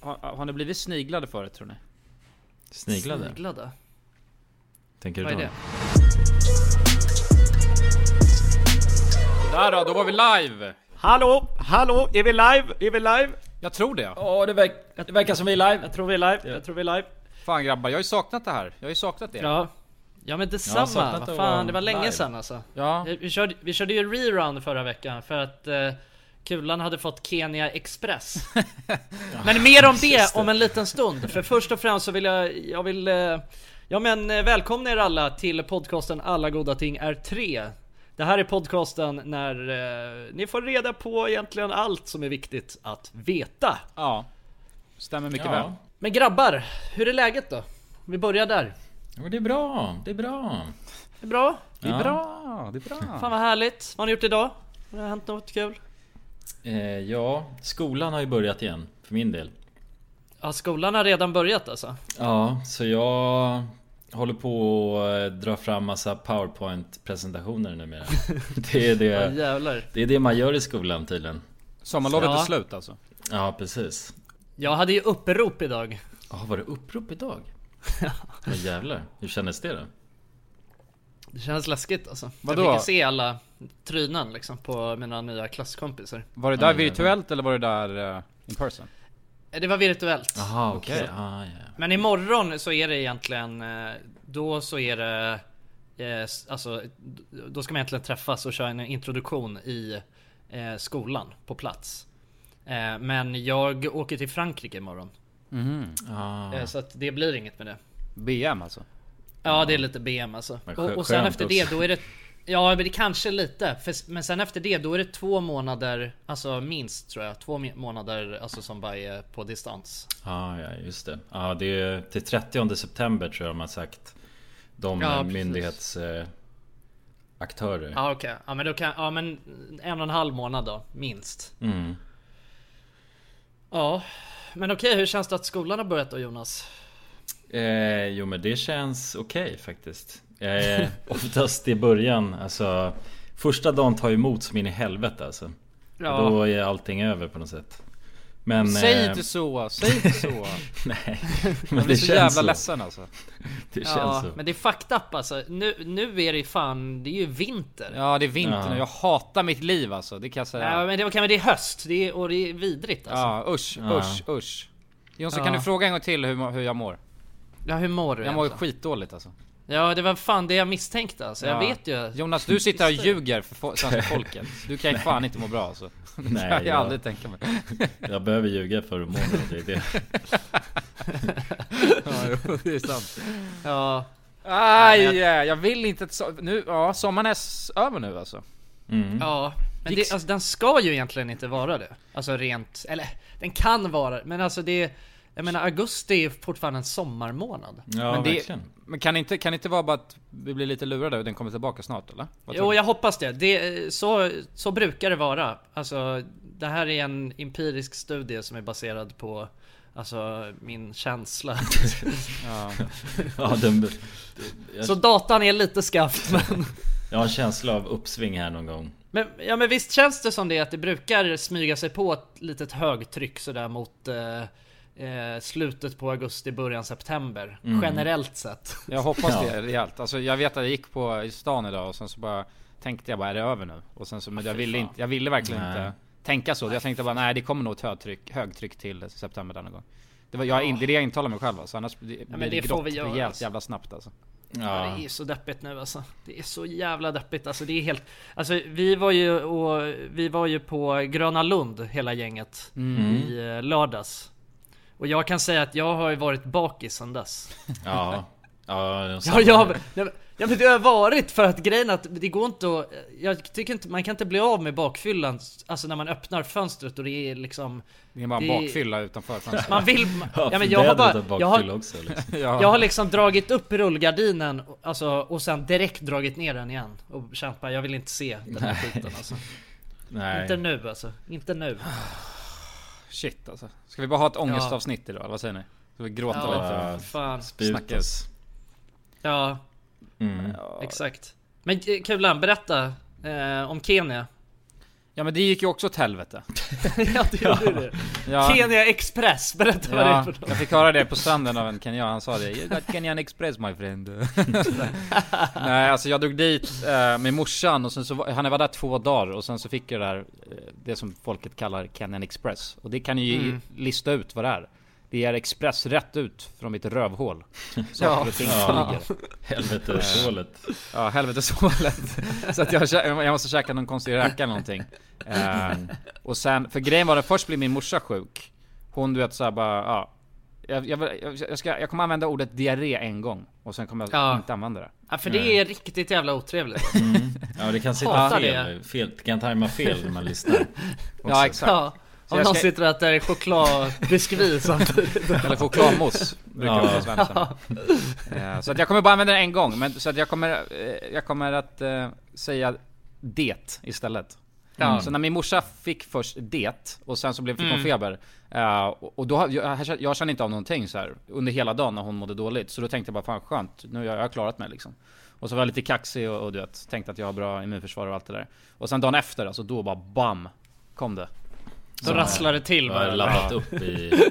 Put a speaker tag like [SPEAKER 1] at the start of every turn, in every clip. [SPEAKER 1] har, har ni blivit sniglade förut tror ni?
[SPEAKER 2] Sniglade?
[SPEAKER 3] Sniglade?
[SPEAKER 2] Tänker du
[SPEAKER 3] Vad är
[SPEAKER 2] då?
[SPEAKER 3] det?
[SPEAKER 1] Där då, då var vi live!
[SPEAKER 4] Hallå, hallå, är vi live? Är vi live?
[SPEAKER 1] Jag tror det.
[SPEAKER 4] Ja, det, verk- det verkar som vi är live. Jag tror vi är live. Jag tror vi är live.
[SPEAKER 1] Fan grabbar, jag har ju saknat det här. Jag har ju saknat det.
[SPEAKER 3] Ja. Ja
[SPEAKER 2] Jag
[SPEAKER 3] men
[SPEAKER 2] har
[SPEAKER 3] detsamma,
[SPEAKER 2] saknat
[SPEAKER 3] vad
[SPEAKER 2] att
[SPEAKER 3] fan
[SPEAKER 2] vara
[SPEAKER 3] det var länge
[SPEAKER 2] live.
[SPEAKER 3] sedan alltså.
[SPEAKER 1] Ja.
[SPEAKER 3] Vi- Vi körde, vi körde ju rerun förra veckan för att eh, Kulan hade fått Kenya Express. men mer om det om en liten stund. För först och främst så vill jag, jag vill, eh, ja men eh, välkomna er alla till podcasten Alla goda ting är tre. Det här är podcasten när eh, ni får reda på egentligen allt som är viktigt att veta.
[SPEAKER 1] Ja. Stämmer mycket
[SPEAKER 2] Ja.
[SPEAKER 1] väl.
[SPEAKER 3] Men grabbar, hur är läget då? Vi börjar där.
[SPEAKER 2] Ja, men det är bra, det är bra.
[SPEAKER 3] Det är bra?
[SPEAKER 1] Det är
[SPEAKER 2] Ja.
[SPEAKER 1] bra, det är bra.
[SPEAKER 3] Fan vad härligt. Vad har ni gjort idag? Har det hänt något kul?
[SPEAKER 2] Eh, ja, skolan har ju börjat igen för min del.
[SPEAKER 3] Ja, skolan har redan börjat alltså.
[SPEAKER 2] Ja, så jag håller på att dra fram massa powerpoint presentationer numera. Det är
[SPEAKER 3] Ja,
[SPEAKER 2] det,
[SPEAKER 3] jävlar.
[SPEAKER 2] det är det man gör i skolan tydligen.
[SPEAKER 1] Sommarlovet
[SPEAKER 3] Ja.
[SPEAKER 1] är slut alltså.
[SPEAKER 2] Ja, precis.
[SPEAKER 3] Jag hade ju upprop idag.
[SPEAKER 2] Ja, var det upprop idag? Ja jävlar, hur kändes det då?
[SPEAKER 3] Det känns läskigt alltså.
[SPEAKER 1] Vadå?
[SPEAKER 3] Jag fick ju se alla trynen liksom på mina nya klasskompisar.
[SPEAKER 1] Var det där virtuellt eller var det där eh, in person?
[SPEAKER 3] Eh, Det var virtuellt.
[SPEAKER 2] Jaha okej, ah, ja.
[SPEAKER 3] Men imorgon så är det egentligen, eh, då så är det, eh, s- alltså d- då ska man egentligen träffas och köra en introduktion i eh, skolan på plats. Eh, Men jag åker till Frankrike imorgon.
[SPEAKER 2] Ah,
[SPEAKER 3] Eh, Så att det blir inget med det.
[SPEAKER 1] BM alltså.
[SPEAKER 3] Ja det är lite BM alltså.
[SPEAKER 2] Men
[SPEAKER 3] Och,
[SPEAKER 2] skö-
[SPEAKER 3] och sen
[SPEAKER 2] skönt
[SPEAKER 3] efter det
[SPEAKER 2] också.
[SPEAKER 3] då är det Ja men det kanske lite. För, s- men sen efter det då är det två månader, alltså minst tror jag. Två mi- månader alltså som bara är på distans.
[SPEAKER 2] ah, ja, just det. Ja, det är till 30 september tror jag de har sagt. De
[SPEAKER 3] Ja,
[SPEAKER 2] ja,
[SPEAKER 3] precis.
[SPEAKER 2] myndighetsaktörer. Eh, aktörer.
[SPEAKER 3] Ja okej. Ja men då kan, ja men en och en halv månad då, minst.
[SPEAKER 2] Mm.
[SPEAKER 3] Ja. Men okej, hur känns det att skolan har börjat då Jonas?
[SPEAKER 2] Eh, jo men det känns okej faktiskt. Eh, oftast i början, alltså Första dagen tar emot som in i helvete alltså.
[SPEAKER 3] Ja.
[SPEAKER 2] Då är allting över på något sätt. Men...
[SPEAKER 1] Säg
[SPEAKER 2] eh,
[SPEAKER 1] inte så, säg inte så.
[SPEAKER 2] Nej.
[SPEAKER 1] Jag
[SPEAKER 2] Men
[SPEAKER 1] blir
[SPEAKER 2] det
[SPEAKER 1] så jävla
[SPEAKER 2] känns så.
[SPEAKER 1] ledsen alltså.
[SPEAKER 2] Det känns
[SPEAKER 3] Ja,
[SPEAKER 2] så.
[SPEAKER 3] men det är fucked up alltså. Nu, nu är det fan, det är ju vinter. Ja.
[SPEAKER 1] Ja det är vinter
[SPEAKER 2] Ja.
[SPEAKER 1] nu, jag hatar mitt liv alltså. Det kan jag säga.
[SPEAKER 3] men det, okej, men det är höst det är, och det är vidrigt alltså. Ja,
[SPEAKER 1] Ja usch,
[SPEAKER 2] Ja.
[SPEAKER 1] usch, usch. Jonsson
[SPEAKER 3] Ja.
[SPEAKER 1] kan du fråga en gång till hur, ma- hur jag mår?
[SPEAKER 3] hur mår du?
[SPEAKER 1] Jag mår
[SPEAKER 3] egentligen?
[SPEAKER 1] skitdåligt alltså.
[SPEAKER 3] Ja det var fan det jag misstänkte alltså. Jag
[SPEAKER 1] Ja.
[SPEAKER 3] vet ju.
[SPEAKER 1] Jonas, du sitter här och ljuger för fo- svenska folket. Du kan ju fan inte må bra alltså. Det
[SPEAKER 2] Nej,
[SPEAKER 1] kan jag
[SPEAKER 2] ja.
[SPEAKER 1] aldrig tänka mig.
[SPEAKER 2] Jag behöver ljuga för att må bra, det är det.
[SPEAKER 1] Ja, jo, det är sant.
[SPEAKER 3] Ja.
[SPEAKER 1] Aj,
[SPEAKER 3] men
[SPEAKER 1] jag vill inte att so- nu, ja, sommaren är s- över nu alltså.
[SPEAKER 2] Mm.
[SPEAKER 3] Ja. Men det,
[SPEAKER 1] Gick-
[SPEAKER 3] alltså, den ska ju egentligen inte vara det. Alltså rent, eller den kan vara det, men alltså det jag menar augusti är fortfarande en sommarmånad.
[SPEAKER 2] Ja
[SPEAKER 1] men, det,
[SPEAKER 2] verkligen.
[SPEAKER 1] men kan inte, kan inte vara bara att vi blir lite lurade och den kommer tillbaka snart eller? Vad tror
[SPEAKER 3] Jo,
[SPEAKER 1] du?
[SPEAKER 3] jag hoppas det. det så, så brukar det vara. Alltså, det här är en empirisk studie som är baserad på alltså, min känsla.
[SPEAKER 2] Ja, den,
[SPEAKER 3] så datan är lite skaft. Men,
[SPEAKER 2] jag har en känsla av uppsving här någon gång.
[SPEAKER 3] men, ja, men visst känns det som det att det brukar smyga sig på ett litet högtryck sådär mot eh, eh, slutet på augusti, början september. Generellt sett.
[SPEAKER 1] Jag hoppas
[SPEAKER 2] Ja.
[SPEAKER 1] det rejält. Alltså, jag vet att jag gick på i stan idag och sen så bara tänkte jag bara är det över nu? Och sen så, men jag
[SPEAKER 3] Ah, fy
[SPEAKER 1] ville,
[SPEAKER 3] fan.
[SPEAKER 1] inte, jag ville verkligen
[SPEAKER 2] Nej.
[SPEAKER 1] inte tänka så. Jag tänkte bara nej det kommer nog ett högtryck, högtryck till september denna gång. Det var jag, in- det är det jag intalar mig själv alltså. Annars blir
[SPEAKER 3] Ah. men
[SPEAKER 1] blir det,
[SPEAKER 3] det får
[SPEAKER 1] grått
[SPEAKER 3] vi göra,
[SPEAKER 1] rejält
[SPEAKER 3] alltså.
[SPEAKER 1] jävla snabbt alltså.
[SPEAKER 3] Ja.
[SPEAKER 2] Ja,
[SPEAKER 3] Det är så deppigt nu alltså. Det är så jävla deppigt. Alltså det är helt... Alltså vi var ju, och, vi var ju på Gröna Lund hela gänget i eh, lördags. Och jag kan säga att jag har ju varit bakis sedan dess.
[SPEAKER 2] ja. Ja,
[SPEAKER 3] Ja, jag, nej, men- ja men det har jag varit för att grejen är att det går inte att, Jag tycker inte, man kan inte bli av med bakfyllan Alltså när man öppnar fönstret och det är liksom
[SPEAKER 1] Det är bara en
[SPEAKER 3] Det-
[SPEAKER 1] bakfylla utanför fönstret.
[SPEAKER 3] Man vill...
[SPEAKER 2] Ja,
[SPEAKER 3] Ja men jag har bara...
[SPEAKER 2] bara,
[SPEAKER 3] Jag har,
[SPEAKER 2] också, liksom.
[SPEAKER 1] Ja.
[SPEAKER 3] Jag har liksom dragit upp rullgardinen alltså, och sen direkt dragit ner den igen och känt bara jag vill inte se den här skiten alltså.
[SPEAKER 2] Nej.
[SPEAKER 3] Inte nu alltså, inte nu.
[SPEAKER 1] Shit alltså. Ska vi bara ha ett ångestavsnitt idag eller vad säger ni? Ska vi gråta lite?
[SPEAKER 3] Ja, fan.
[SPEAKER 2] Spjut
[SPEAKER 1] Snacka
[SPEAKER 2] oss.
[SPEAKER 3] Ja,
[SPEAKER 2] Mm.
[SPEAKER 3] exakt. Men eh, Kulan, berätta eh, om Kenya.
[SPEAKER 1] Ja men det gick ju också åt helvete.
[SPEAKER 3] ja, det gjorde det.
[SPEAKER 1] Ja.
[SPEAKER 3] Kenya Express, berätta vad det är
[SPEAKER 1] Ja,
[SPEAKER 3] för något.
[SPEAKER 1] jag fick höra det på stranden av en kenyan, han sa det You got Kenyan Express my friend Nej alltså jag drog dit eh, med morsan och sen så var, han var där två dagar och sen så fick jag det där eh, Det som folket kallar Kenyan Express Och det kan ni ju
[SPEAKER 3] Mm.
[SPEAKER 1] lista ut vad det är Det är express rätt ut från mitt rövhål Saker och ting som
[SPEAKER 2] Ja.
[SPEAKER 1] ligger
[SPEAKER 2] Helvete, sålet.
[SPEAKER 1] Ja helveteshålet Så att jag, kä- jag måste käka någon konstig räka eller någonting Eh, Och sen, för grejen var att först blev min morsa sjuk Hon du vet såhär bara, ja jag, jag, jag, jag, ska, jag kommer använda ordet diarré en gång och sen kommer jag
[SPEAKER 3] Ja.
[SPEAKER 1] inte använda det
[SPEAKER 3] Ja, för
[SPEAKER 1] Mm.
[SPEAKER 3] det är riktigt jävla otrevligt.
[SPEAKER 2] Ja det kan sitta
[SPEAKER 3] Hatar
[SPEAKER 2] fel, fel. Det kan tajma fel när man lyssnar.
[SPEAKER 1] Ja exakt,
[SPEAKER 3] Ja.
[SPEAKER 1] Så
[SPEAKER 3] Om
[SPEAKER 1] jag
[SPEAKER 3] någon
[SPEAKER 1] ska-
[SPEAKER 3] sitter och äter chokladbiskvi samtidigt.
[SPEAKER 1] eller chokladmousse brukar
[SPEAKER 2] Ja.
[SPEAKER 1] vara på svenska Eh, Så att jag kommer bara använda det en gång, men så att jag kommer, eh, jag kommer att eh, säga det istället
[SPEAKER 3] Ja.
[SPEAKER 1] Så när min morsa fick först det och sen så blev, fick hon feber. eh, och och då, har- jag, jag, jag kände inte av någonting så här under hela dagen när hon mådde dåligt. Så då tänkte jag bara fan skönt, nu har jag, jag har klarat mig liksom. Och så var jag lite kaxig och, och du vet, tänkte att jag har bra immunförsvar och allt det där. Och sen dagen efter alltså, då bara BAM! Kom det.
[SPEAKER 3] Då rasslar det till
[SPEAKER 2] Jag har
[SPEAKER 3] bara.
[SPEAKER 2] laddat upp i...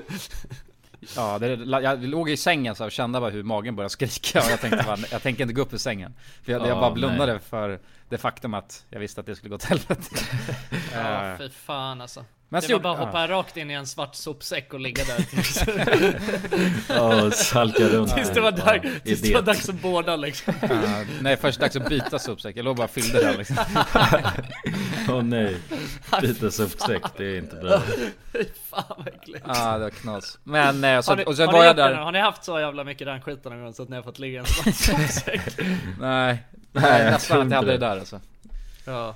[SPEAKER 1] Ja, det, jag låg i sängen så här och kände bara hur magen började skrika och jag tänkte bara, nej, jag tänker inte gå upp ur sängen. För jag, jag
[SPEAKER 2] Ja,
[SPEAKER 1] bara blundade
[SPEAKER 2] nej.
[SPEAKER 1] för det faktum att jag visste att det skulle gå åt helvete. Eh,
[SPEAKER 3] Ja, fy fan alltså.
[SPEAKER 1] Men så
[SPEAKER 3] det var
[SPEAKER 1] gjorde-
[SPEAKER 3] bara att
[SPEAKER 1] ja.
[SPEAKER 3] hoppa rakt in i en svart sopsäck och ligga där tills,
[SPEAKER 2] Ja, salka runt.
[SPEAKER 3] tills det var
[SPEAKER 2] i-
[SPEAKER 3] dags,
[SPEAKER 2] i
[SPEAKER 3] tills det var dags att båda liksom.
[SPEAKER 1] Eh, nej, först dags att byta sopsäck. Jag låg bara och fyllde den liksom.
[SPEAKER 2] Åh nej. Byta sopsäck, det är inte bra.
[SPEAKER 3] Fy fan vad äckligt.
[SPEAKER 1] Ja ah, det var knas. Men eh, så,
[SPEAKER 3] Har ni,
[SPEAKER 1] och sen
[SPEAKER 3] har,
[SPEAKER 1] var
[SPEAKER 3] ni
[SPEAKER 1] jag
[SPEAKER 3] gjort det nu?
[SPEAKER 1] där.
[SPEAKER 3] har ni haft så jävla mycket den skiten någon gång så att ni har fått ligga i en svart sopsäck?
[SPEAKER 1] Nej.
[SPEAKER 2] Nej,
[SPEAKER 1] Nej
[SPEAKER 2] jag
[SPEAKER 1] nästan
[SPEAKER 2] tror
[SPEAKER 1] att jag hade det
[SPEAKER 2] inte
[SPEAKER 1] där alltså.
[SPEAKER 3] Ja.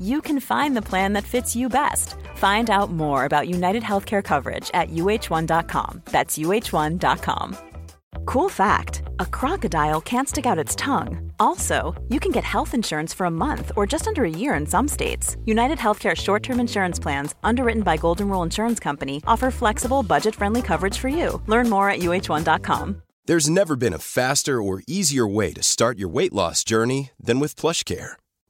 [SPEAKER 5] you can find the plan that fits you best. Find out more about United Healthcare coverage at uh1.com. That's uh1.com. Cool fact a crocodile can't stick out its tongue. Also, you can get health insurance for a month or just under a year in some states. United Healthcare short term insurance plans, underwritten by Golden Rule Insurance Company, offer flexible, budget friendly coverage for you. Learn more at uh1.com.
[SPEAKER 6] There's never been a faster or easier way to start your weight loss journey than with PlushCare.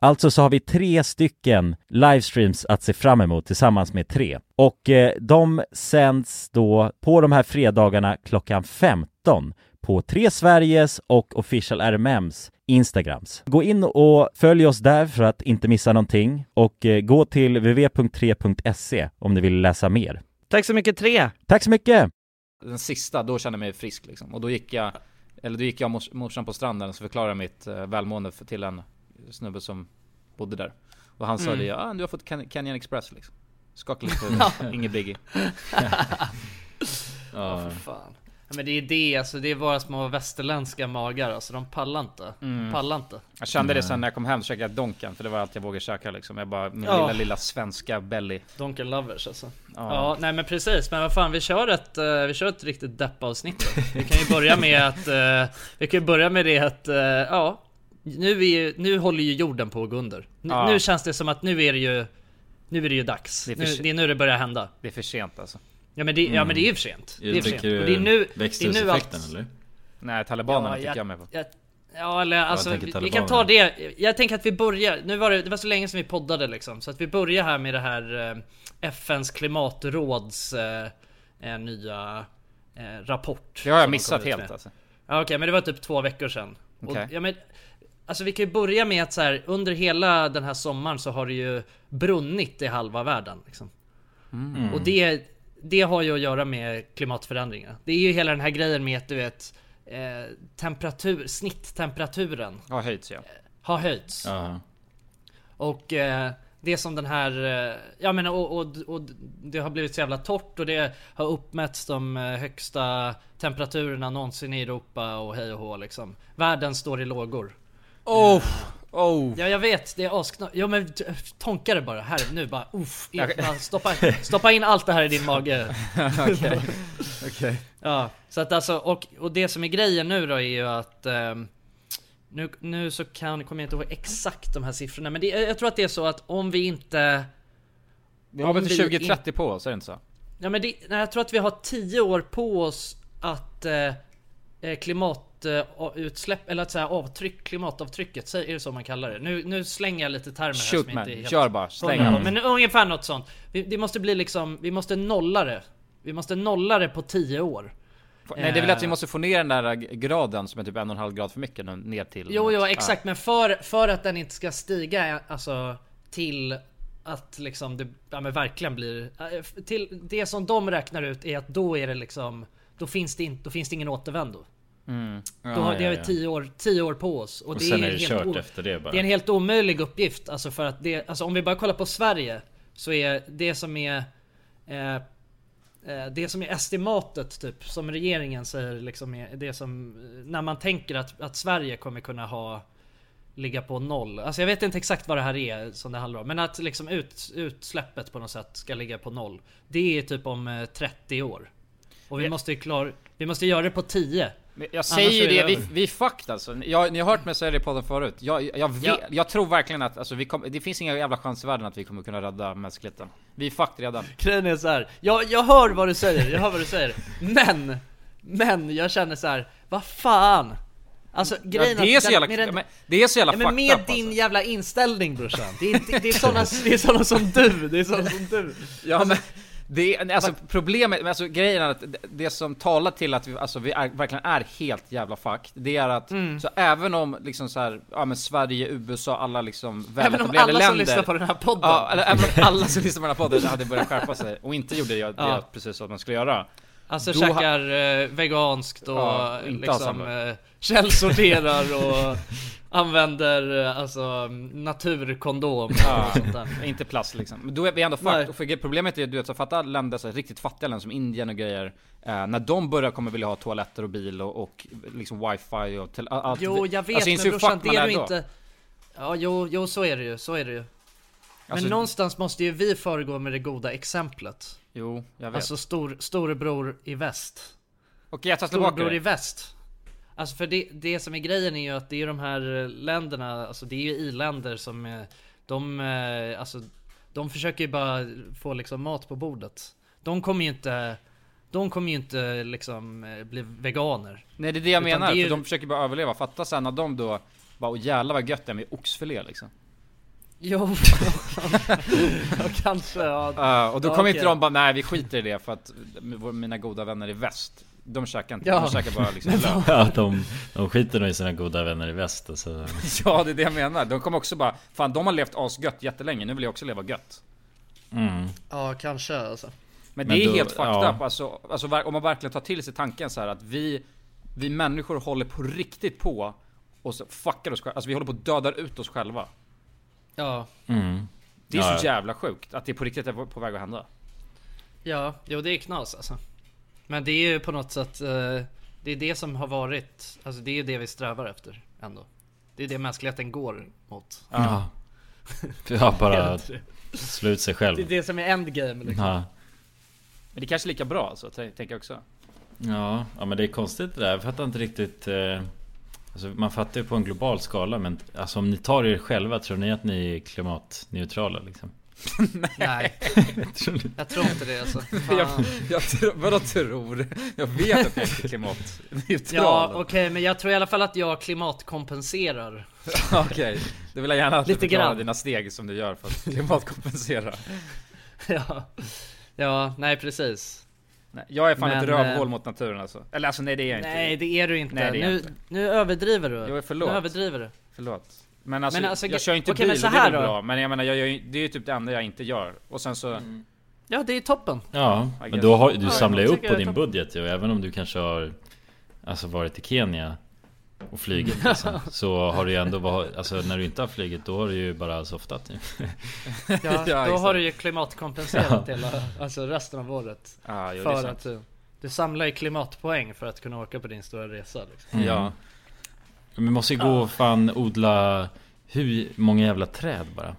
[SPEAKER 7] Alltså så har vi tre stycken livestreams att se fram emot tillsammans med tre. Och eh, de sänds då på de här fredagarna klockan 15 på Tre Sveriges och Official RMMs Instagrams. Gå in och följ oss där för att inte missa någonting och eh, gå till www.3.se e om ni vill läsa mer.
[SPEAKER 4] Tack så mycket, tre!
[SPEAKER 7] Tack så mycket!
[SPEAKER 1] Den sista, då kände jag mig frisk liksom. Och då gick jag, eller då gick jag och mors, morsan på stranden och så förklarade jag mitt eh, välmående för, till en snubbe som bodde där. Och han
[SPEAKER 3] Mm.
[SPEAKER 1] sa det, ja ah, du har fått Can- Canyon Express liksom. Skakade lite på huvudet, ingen biggie.
[SPEAKER 3] Ja, för fan. Ja, men det är det, alltså det är våra små västerländska magar alltså, de pallar inte.
[SPEAKER 1] Mm.
[SPEAKER 3] Pallar inte.
[SPEAKER 1] Jag kände det sen när jag kom hem så käkade jag Donken, för det var allt jag vågade käka liksom. Jag bara, min
[SPEAKER 3] Ja.
[SPEAKER 1] lilla, lilla svenska belly.
[SPEAKER 3] Donken lovers alltså. Ja. nej men precis, men vad fan vi kör ett, eh, vi kör ett riktigt deppavsnitt. Vi kan ju börja med att, eh, vi kan ju börja med det att, eh, ja. Nu, är ju, nu håller ju jorden på att gå under. Nu,
[SPEAKER 1] Ja.
[SPEAKER 3] nu känns det som att nu är det ju, nu är det ju dags.
[SPEAKER 1] Det är för
[SPEAKER 3] nu,
[SPEAKER 1] se-
[SPEAKER 3] det är nu det börjar hända.
[SPEAKER 1] Det är för sent alltså.
[SPEAKER 3] Ja men det, ja, men det är ju för sent. Det är
[SPEAKER 1] Mm.
[SPEAKER 3] för sent.
[SPEAKER 2] tycker
[SPEAKER 3] Och det är nu, det är nu
[SPEAKER 2] växthuseffekten
[SPEAKER 3] allt-
[SPEAKER 2] eller?
[SPEAKER 1] Nej, talibanerna
[SPEAKER 3] Ja,
[SPEAKER 1] fick
[SPEAKER 3] jag-
[SPEAKER 1] jag med på.
[SPEAKER 3] Jag, ja eller alltså,
[SPEAKER 2] tänker
[SPEAKER 3] vi, vi
[SPEAKER 2] talibanerna.
[SPEAKER 3] kan ta det. Jag tänker att vi börjar, nu var det, det var så länge som vi poddade liksom. Så att vi börjar här med det här eh, FNs klimatråds eh, eh, nya eh, rapport.
[SPEAKER 1] Det har jag
[SPEAKER 3] som de
[SPEAKER 1] missat
[SPEAKER 3] kom ut med.
[SPEAKER 1] helt alltså.
[SPEAKER 3] Ja, Okej, men det var typ två veckor sedan.
[SPEAKER 1] Okej.
[SPEAKER 3] Och, ja, men, alltså vi kan ju börja med att så här, under hela den här sommaren så har det ju brunnit i halva världen. Liksom. Och det, det har ju att göra med klimatförändringar. Det är ju hela den här grejen med att du vet, eh, temperatur, snitttemperaturen
[SPEAKER 1] Har höjts ja.
[SPEAKER 3] har höjts.
[SPEAKER 2] Ja.
[SPEAKER 3] Och eh, det som den här, eh, ja men och, och, och det har blivit så jävla torrt och det har uppmätts de eh, högsta temperaturerna någonsin i Europa och hej och hå liksom. Världen står i lågor.
[SPEAKER 1] Oh, oh.
[SPEAKER 3] Ja jag vet, det är asknö... Ja men t- tonka det bara här nu bara, uff, in, bara stoppa, stoppa in allt det här i din mage.
[SPEAKER 1] Okej. Okej.
[SPEAKER 3] Ja, så att alltså, och, och det som är grejen nu då är ju att ehm, nu, nu så kan, kommer jag inte ihåg exakt de här siffrorna men det, jag jag tror att det är så att om vi inte
[SPEAKER 1] Vi har väl till
[SPEAKER 3] Om vi in-
[SPEAKER 1] 2030 på oss, är det inte så?
[SPEAKER 3] Ja, men det, nej, jag tror att vi har 10 år på oss att eh, eh, klimatutsläpp, eller att säga avtryck, klimatavtrycket, så- är det så man kallar det? Nu, nu slänger jag lite termer här
[SPEAKER 1] Shoot
[SPEAKER 3] som inte
[SPEAKER 1] man,
[SPEAKER 3] är helt...
[SPEAKER 1] kör bara, släng
[SPEAKER 3] Mm.
[SPEAKER 1] mm.
[SPEAKER 3] Men ungefär något sånt. Vi, det måste bli liksom, vi måste nolla det. Vi måste nolla det på 10 år.
[SPEAKER 1] Nej det är väl
[SPEAKER 3] Eh.
[SPEAKER 1] att vi måste få ner den där graden som är typ en och en halv grad för mycket nu, ner till
[SPEAKER 3] Jo,
[SPEAKER 1] något.
[SPEAKER 3] jo,
[SPEAKER 1] Ja.
[SPEAKER 3] exakt. Men för, för att den inte ska stiga alltså, till att liksom det ja, men verkligen blir... eh, Till det som de räknar ut är att då är det liksom... Då finns det, inte då finns det ingen återvändo. Då har, det har vi tio år, tio år på oss. Och,
[SPEAKER 2] Och
[SPEAKER 3] det
[SPEAKER 2] sen
[SPEAKER 3] är,
[SPEAKER 2] är det
[SPEAKER 3] helt
[SPEAKER 2] kört
[SPEAKER 3] o-
[SPEAKER 2] efter det bara.
[SPEAKER 3] Det är en helt omöjlig uppgift. Alltså för att det, alltså om vi bara kollar på Sverige. Så är det som är... Eh, eh, det som är estimatet typ, som regeringen säger liksom är det som... eh, När man tänker att, att Sverige kommer kunna ha... Ligga på noll. Alltså jag vet inte exakt vad det här är som det handlar om. Men att liksom ut, utsläppet på något sätt ska ligga på noll. Det är typ om eh, 30 år. Och vi måste ju klara... Vi måste göra det på 10.
[SPEAKER 1] Men Jag säger
[SPEAKER 3] Annars
[SPEAKER 1] ju
[SPEAKER 3] är det
[SPEAKER 1] det, vi,
[SPEAKER 3] över.
[SPEAKER 1] vi är fucked alltså. Jag, ni har hört mig säga det i podden förut. Jag, jag, vet,
[SPEAKER 3] Ja.
[SPEAKER 1] jag tror verkligen att alltså, vi kom, det finns inga jävla chans i världen att vi kommer kunna rädda mänskligheten. Vi är fucked redan.
[SPEAKER 3] Grejen är så här. Jag, jag hör vad du säger, jag hör vad du säger. Men! Men jag känner så här. vad fan! Alltså
[SPEAKER 1] Ja,
[SPEAKER 3] grejen
[SPEAKER 1] det, är
[SPEAKER 3] att
[SPEAKER 1] så
[SPEAKER 3] den-
[SPEAKER 1] jävla,
[SPEAKER 3] med den-
[SPEAKER 1] men, det är så jävla
[SPEAKER 3] Ja, men
[SPEAKER 1] fucked
[SPEAKER 3] med
[SPEAKER 1] up,
[SPEAKER 3] din
[SPEAKER 1] alltså.
[SPEAKER 3] jävla inställning brorsan. Det är, det, det är sådana det är såna som du, det är sådana som du.
[SPEAKER 1] Ja, men, det är, alltså problemet, men alltså grejen är att det- det som talar till att vi, alltså, vi är, verkligen är helt jävla fucked, det är att
[SPEAKER 3] Mm.
[SPEAKER 1] så även om liksom så här, ja men Sverige, USA, alla liksom
[SPEAKER 3] Även om
[SPEAKER 1] väletablerade
[SPEAKER 3] alla
[SPEAKER 1] länder
[SPEAKER 3] som lyssnar på den här podden.
[SPEAKER 1] Ja, eller även om alla som lyssnar på den här podden hade börjat skärpa sig och inte gjorde det jag, det
[SPEAKER 3] Ja.
[SPEAKER 1] jag precis sa att man skulle göra.
[SPEAKER 3] alltså
[SPEAKER 1] då ha-
[SPEAKER 3] käkar eh, veganskt och
[SPEAKER 1] Ja, inte alls
[SPEAKER 3] liksom
[SPEAKER 1] samma.
[SPEAKER 3] eh, källsorterar och använder eh, alltså naturkondom och
[SPEAKER 1] Ja.
[SPEAKER 3] sånt där.
[SPEAKER 1] Inte plast liksom. Men då är vi ändå fucked.
[SPEAKER 3] Nej.
[SPEAKER 1] Och för problemet är du vet, så fatta länder, så här, riktigt fattiga länder som Indien och grejer. Eh, när de börjar kommer vilja ha toaletter och bil och, och liksom wifi och till, allt.
[SPEAKER 3] Jo jag vet
[SPEAKER 1] Alltså, inser
[SPEAKER 3] men
[SPEAKER 1] hur
[SPEAKER 3] brorsan
[SPEAKER 1] fucked man är
[SPEAKER 3] det du
[SPEAKER 1] då.
[SPEAKER 3] inte Ja jo, jo så är det ju, så är det ju
[SPEAKER 1] Alltså-
[SPEAKER 3] Men någonstans måste ju vi föregå med det goda exemplet.
[SPEAKER 1] Jo, jag vet.
[SPEAKER 3] Alltså stor, storebror i väst.
[SPEAKER 1] Okej, jag tar tillbaka
[SPEAKER 3] Storebror i
[SPEAKER 1] det.
[SPEAKER 3] väst. Alltså för det, det som är grejen är ju att det är ju de här eh, länderna, alltså det är ju i-länder som eh, de, eh, alltså de försöker ju bara få liksom mat på bordet. De kommer ju inte, de kommer ju inte liksom eh, bli veganer.
[SPEAKER 1] Nej, det är det jag
[SPEAKER 3] Utan
[SPEAKER 1] menar.
[SPEAKER 3] det är ju-
[SPEAKER 1] För de försöker bara överleva. Fatta sen när de då bara, åh jävlar vad gött det är med oxfilé liksom.
[SPEAKER 3] Jo, ja, kanske. Ja.
[SPEAKER 1] Ja, och då
[SPEAKER 3] Ja,
[SPEAKER 1] kommer
[SPEAKER 3] okej.
[SPEAKER 1] inte de bara, nej vi skiter i det för att vår- mina goda vänner i väst, de käkar inte,
[SPEAKER 3] Ja.
[SPEAKER 1] de käkar bara liksom lök.
[SPEAKER 2] Ja, de, de skiter nog i sina goda vänner i väst alltså.
[SPEAKER 1] Ja, det är det jag menar. De kommer också bara, fan de har levt asgött jättelänge, nu vill jag också leva gött.
[SPEAKER 2] mm.
[SPEAKER 3] ja, kanske alltså.
[SPEAKER 1] Men,
[SPEAKER 2] Men
[SPEAKER 1] det är
[SPEAKER 2] då-
[SPEAKER 1] helt fucked
[SPEAKER 2] ja.
[SPEAKER 1] up. Alltså, alltså, ver- om man verkligen tar till sig tanken så här att vi, vi människor håller på riktigt på och så fuckar oss själva. Alltså vi håller på att dödar ut oss själva.
[SPEAKER 3] Ja,
[SPEAKER 2] Mm.
[SPEAKER 1] Det är
[SPEAKER 2] Ja,
[SPEAKER 1] så
[SPEAKER 2] ja.
[SPEAKER 1] jävla sjukt att det på riktigt är på- på väg att hända.
[SPEAKER 3] ja, jo det är knas alltså. Men det är ju på något sätt, eh, det är det som har varit, alltså det är ju det vi strävar efter ändå. Det är det mänskligheten går mot.
[SPEAKER 2] Ja. ja, bara
[SPEAKER 3] Det
[SPEAKER 2] slut sig själv.
[SPEAKER 3] är det som är endgame liksom.
[SPEAKER 2] Ja.
[SPEAKER 1] Men det är kanske är lika bra alltså, t- tänker jag också.
[SPEAKER 2] Ja, ja men det är konstigt det där. Jag fattar inte riktigt. Eh, alltså, man fattar ju på en global skala men alltså, om ni tar er själva, tror ni att ni är klimatneutrala liksom?
[SPEAKER 3] Nej, jag tror inte det alltså. Fan.
[SPEAKER 1] Jag, jag, tro- vadå tror? Jag vet att jag är klimatneutral.
[SPEAKER 3] Ja okej men jag tror i alla fall att jag klimatkompenserar.
[SPEAKER 1] Okej, då vill jag gärna att du
[SPEAKER 3] Lite
[SPEAKER 1] förklarar
[SPEAKER 3] grann.
[SPEAKER 1] dina steg som du gör för att klimatkompensera.
[SPEAKER 3] ja. ja, nej precis.
[SPEAKER 1] Nej, jag är fan
[SPEAKER 3] Men,
[SPEAKER 1] ett rövhål
[SPEAKER 3] eh,
[SPEAKER 1] mot naturen alltså. Eller alltså nej det är jag inte.
[SPEAKER 3] Nej det är du inte.
[SPEAKER 1] Nej, det är jag
[SPEAKER 3] nu,
[SPEAKER 1] inte.
[SPEAKER 3] nu överdriver du.
[SPEAKER 1] Jo, förlåt.
[SPEAKER 3] Nu överdriver du.
[SPEAKER 1] Förlåt. Men alltså,
[SPEAKER 3] Men alltså,
[SPEAKER 1] jag kör ju inte
[SPEAKER 3] okej, men
[SPEAKER 1] bil
[SPEAKER 3] så
[SPEAKER 1] och det är
[SPEAKER 3] här
[SPEAKER 1] väl
[SPEAKER 3] då.
[SPEAKER 1] bra. Men jag menar, jag gör, ju- det är ju typ det enda jag inte gör. Och sen så...
[SPEAKER 3] Mm. Ja det är toppen.
[SPEAKER 2] Ja,
[SPEAKER 1] I
[SPEAKER 2] men
[SPEAKER 1] guess.
[SPEAKER 2] då har, du
[SPEAKER 3] Ja,
[SPEAKER 2] samlar ju
[SPEAKER 3] jag
[SPEAKER 2] upp
[SPEAKER 3] tycker
[SPEAKER 2] på
[SPEAKER 3] jag
[SPEAKER 2] din
[SPEAKER 3] tar-
[SPEAKER 2] budget ju. Även om du kanske har alltså, varit i Kenya och flugit liksom, Så har du ju ändå, var- alltså när du inte har flugit då har du ju bara softat ju.
[SPEAKER 3] Ja,
[SPEAKER 1] Ja,
[SPEAKER 3] då
[SPEAKER 1] exakt.
[SPEAKER 3] har du ju klimatkompenserat hela, alltså resten av året.
[SPEAKER 1] Ah, jo, det är
[SPEAKER 3] för
[SPEAKER 1] sant.
[SPEAKER 3] att eh, du, du samlar ju klimatpoäng för att kunna åka på din stora resa. Liksom.
[SPEAKER 1] Ja.
[SPEAKER 2] Men Vi måste ju gå och fan odla hur många jävla träd bara.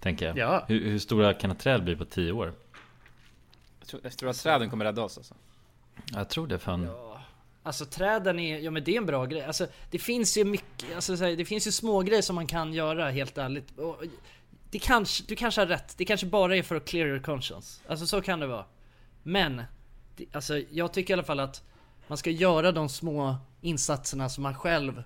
[SPEAKER 2] Tänker jag.
[SPEAKER 3] Ja.
[SPEAKER 2] Hur, hur stora kan ett träd bli på tio år?
[SPEAKER 1] Jag tror, jag tror att träden kommer rädda oss alltså.
[SPEAKER 2] Jag tror det fan.
[SPEAKER 3] Alltså träden är, ja men det är en bra grej. Alltså det finns ju mycket, alltså så här, det finns ju små grejer som man kan göra helt ärligt. Och det kanske, du kanske har rätt, det kanske bara är för att clear your conscience. Alltså så kan det vara. Men, det, alltså jag tycker i alla fall att man ska göra de små insatserna som man själv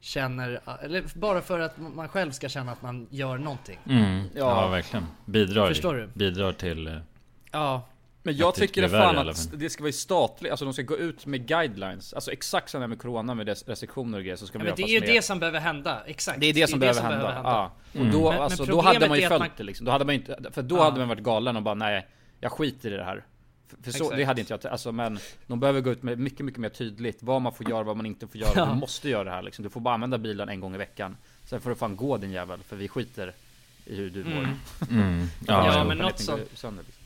[SPEAKER 3] känner, eller bara för att man själv ska känna att man gör någonting.
[SPEAKER 2] Mm. Ja. verkligen. Bidrar,
[SPEAKER 3] Förstår du?
[SPEAKER 2] bidrar till... eh,
[SPEAKER 3] Ja,
[SPEAKER 1] Men jag
[SPEAKER 2] Att det
[SPEAKER 1] tycker det
[SPEAKER 2] blir värre i
[SPEAKER 1] fan
[SPEAKER 2] alla
[SPEAKER 1] att
[SPEAKER 2] fall.
[SPEAKER 1] det ska vara statligt, alltså de ska gå ut med guidelines. Alltså exakt som det är med Corona med dess restriktioner och grejer så ska
[SPEAKER 3] Ja,
[SPEAKER 1] man
[SPEAKER 3] men
[SPEAKER 1] göra
[SPEAKER 3] det är ju
[SPEAKER 1] fast
[SPEAKER 3] det
[SPEAKER 1] med-
[SPEAKER 3] som behöver hända, exakt.
[SPEAKER 1] det är det som behöver hända. Ja. Och då,
[SPEAKER 3] Mm. Men- men
[SPEAKER 1] alltså, då
[SPEAKER 3] problemet
[SPEAKER 1] hade man
[SPEAKER 3] är
[SPEAKER 1] ju
[SPEAKER 3] att
[SPEAKER 1] följt
[SPEAKER 3] man-
[SPEAKER 1] det liksom. Då hade man ju inte, för då
[SPEAKER 3] Ja.
[SPEAKER 1] hade man varit galen och bara nej, jag skiter i det här. För, för så,
[SPEAKER 3] Exakt.
[SPEAKER 1] det hade inte jag, alltså, men de behöver gå ut med mycket, mycket mer tydligt vad man får göra, vad man inte får göra. Du måste göra det här liksom. Du får bara använda bilen en gång i veckan. Sen får du fan gå din jävel, för vi skiter i hur du mår.
[SPEAKER 2] Mm.
[SPEAKER 1] Annars
[SPEAKER 2] Ja,
[SPEAKER 1] kommer
[SPEAKER 3] men något
[SPEAKER 1] planeten gå
[SPEAKER 3] sånt.
[SPEAKER 1] sönder, liksom.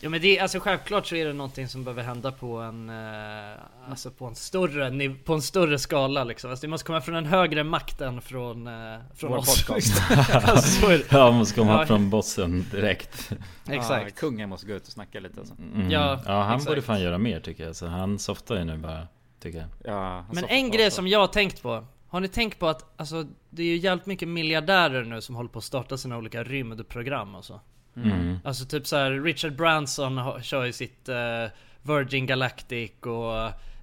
[SPEAKER 3] Ja men det, är- alltså självklart så är det någonting som behöver hända på en, eh, alltså på en större, niv- på en större skala liksom. Alltså det måste komma från en högre makt än från, eh, från
[SPEAKER 1] Vår
[SPEAKER 3] oss.
[SPEAKER 1] podcast.
[SPEAKER 3] Alltså, så är det.
[SPEAKER 2] Ja, måste komma
[SPEAKER 3] Ja.
[SPEAKER 2] från bossen direkt.
[SPEAKER 1] Ja,
[SPEAKER 3] Exakt.
[SPEAKER 1] kungen måste gå ut och snacka lite alltså.
[SPEAKER 2] Mm.
[SPEAKER 3] Ja,
[SPEAKER 2] ja, han
[SPEAKER 3] exakt.
[SPEAKER 2] borde fan göra mer tycker jag. Så han softar ju nu bara, tycker jag.
[SPEAKER 1] Ja, han
[SPEAKER 3] Men
[SPEAKER 1] sa-
[SPEAKER 3] en grej som jag har tänkt på. Har ni tänkt på att alltså, det är ju jävligt mycket miljardärer nu som håller på att starta sina olika rymdprogram och så.
[SPEAKER 2] Mm.
[SPEAKER 3] Alltså typ så här, Richard Branson har, kör ju sitt eh, Virgin Galactic och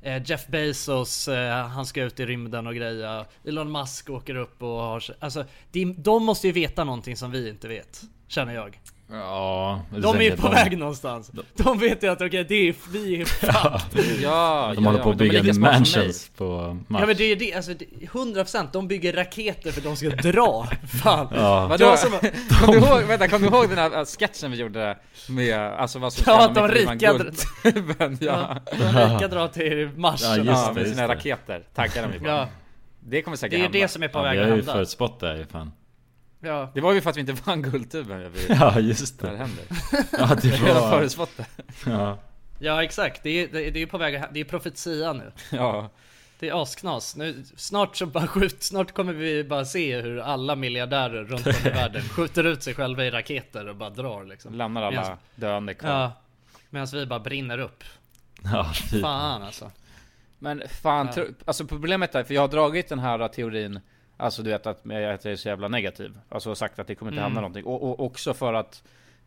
[SPEAKER 3] eh, Jeff Bezos, eh, han ska ut i rymden och greja. Elon Musk åker upp och har... Alltså, de, de måste ju veta någonting som vi inte vet. Känner jag.
[SPEAKER 2] Ja, jag
[SPEAKER 3] De är
[SPEAKER 2] tänker
[SPEAKER 3] ju
[SPEAKER 2] att
[SPEAKER 3] på väg någonstans. De vet ju att okej, det är, vi är
[SPEAKER 1] Ja,
[SPEAKER 2] De
[SPEAKER 1] ja,
[SPEAKER 2] håller
[SPEAKER 1] ja,
[SPEAKER 2] på
[SPEAKER 1] men
[SPEAKER 2] att
[SPEAKER 1] de är
[SPEAKER 2] bygga
[SPEAKER 1] lika smarta som mig.
[SPEAKER 2] mansions på Mars.
[SPEAKER 3] Ja men det är det, alltså det- 100% de bygger raketer för de ska dra. Fan.
[SPEAKER 2] Ja.
[SPEAKER 1] Vadå?
[SPEAKER 3] Jag som-
[SPEAKER 1] Kom du ihåg, vänta, kom du ihåg den här äh, sketchen vi gjorde med, alltså vad som
[SPEAKER 3] Ja,
[SPEAKER 1] hända
[SPEAKER 3] att de
[SPEAKER 1] med Ivan
[SPEAKER 3] rika-
[SPEAKER 1] Guldtuben, ja.
[SPEAKER 3] De rika dra till Mars.
[SPEAKER 2] Ja,
[SPEAKER 3] eller-
[SPEAKER 2] just
[SPEAKER 1] ja,
[SPEAKER 2] det,
[SPEAKER 1] med sina
[SPEAKER 2] det.
[SPEAKER 1] raketer, taggarna vi bara.
[SPEAKER 3] ja,
[SPEAKER 1] Det kommer säkert
[SPEAKER 3] det är
[SPEAKER 1] hända.
[SPEAKER 3] det som är på
[SPEAKER 2] ja,
[SPEAKER 3] väg
[SPEAKER 2] vi
[SPEAKER 3] att
[SPEAKER 2] har ju
[SPEAKER 3] hända.
[SPEAKER 2] förutspått det här ju fan.
[SPEAKER 3] Ja.
[SPEAKER 1] Det var ju för att vi inte vann Guldtuben, vi,
[SPEAKER 2] Ja, just
[SPEAKER 1] det här
[SPEAKER 2] det.
[SPEAKER 1] händer.
[SPEAKER 2] Ja, det
[SPEAKER 1] Vi har redan
[SPEAKER 2] var...
[SPEAKER 1] förutspått det.
[SPEAKER 2] Ja.
[SPEAKER 3] Ja exakt, det är, det är det är på väg att hä- det är profetia nu.
[SPEAKER 1] Ja.
[SPEAKER 3] Det är asknas. Nu, snart så bara skjut, snart kommer vi bara se hur alla miljardärer runt om i världen skjuter ut sig själva i raketer och bara drar liksom.
[SPEAKER 1] Lämnar alla
[SPEAKER 3] Medan-
[SPEAKER 1] döende kvar.
[SPEAKER 3] Ja. Medan vi bara brinner upp.
[SPEAKER 2] Ja, fy.
[SPEAKER 3] Fan alltså.
[SPEAKER 1] Men fan,
[SPEAKER 3] Ja.
[SPEAKER 1] tro, alltså problemet är, för jag har dragit den här teorin Alltså du vet att jag att jag är så jävla negativ Alltså sagt att det kommer inte
[SPEAKER 3] Mm.
[SPEAKER 1] hända någonting och, och också för att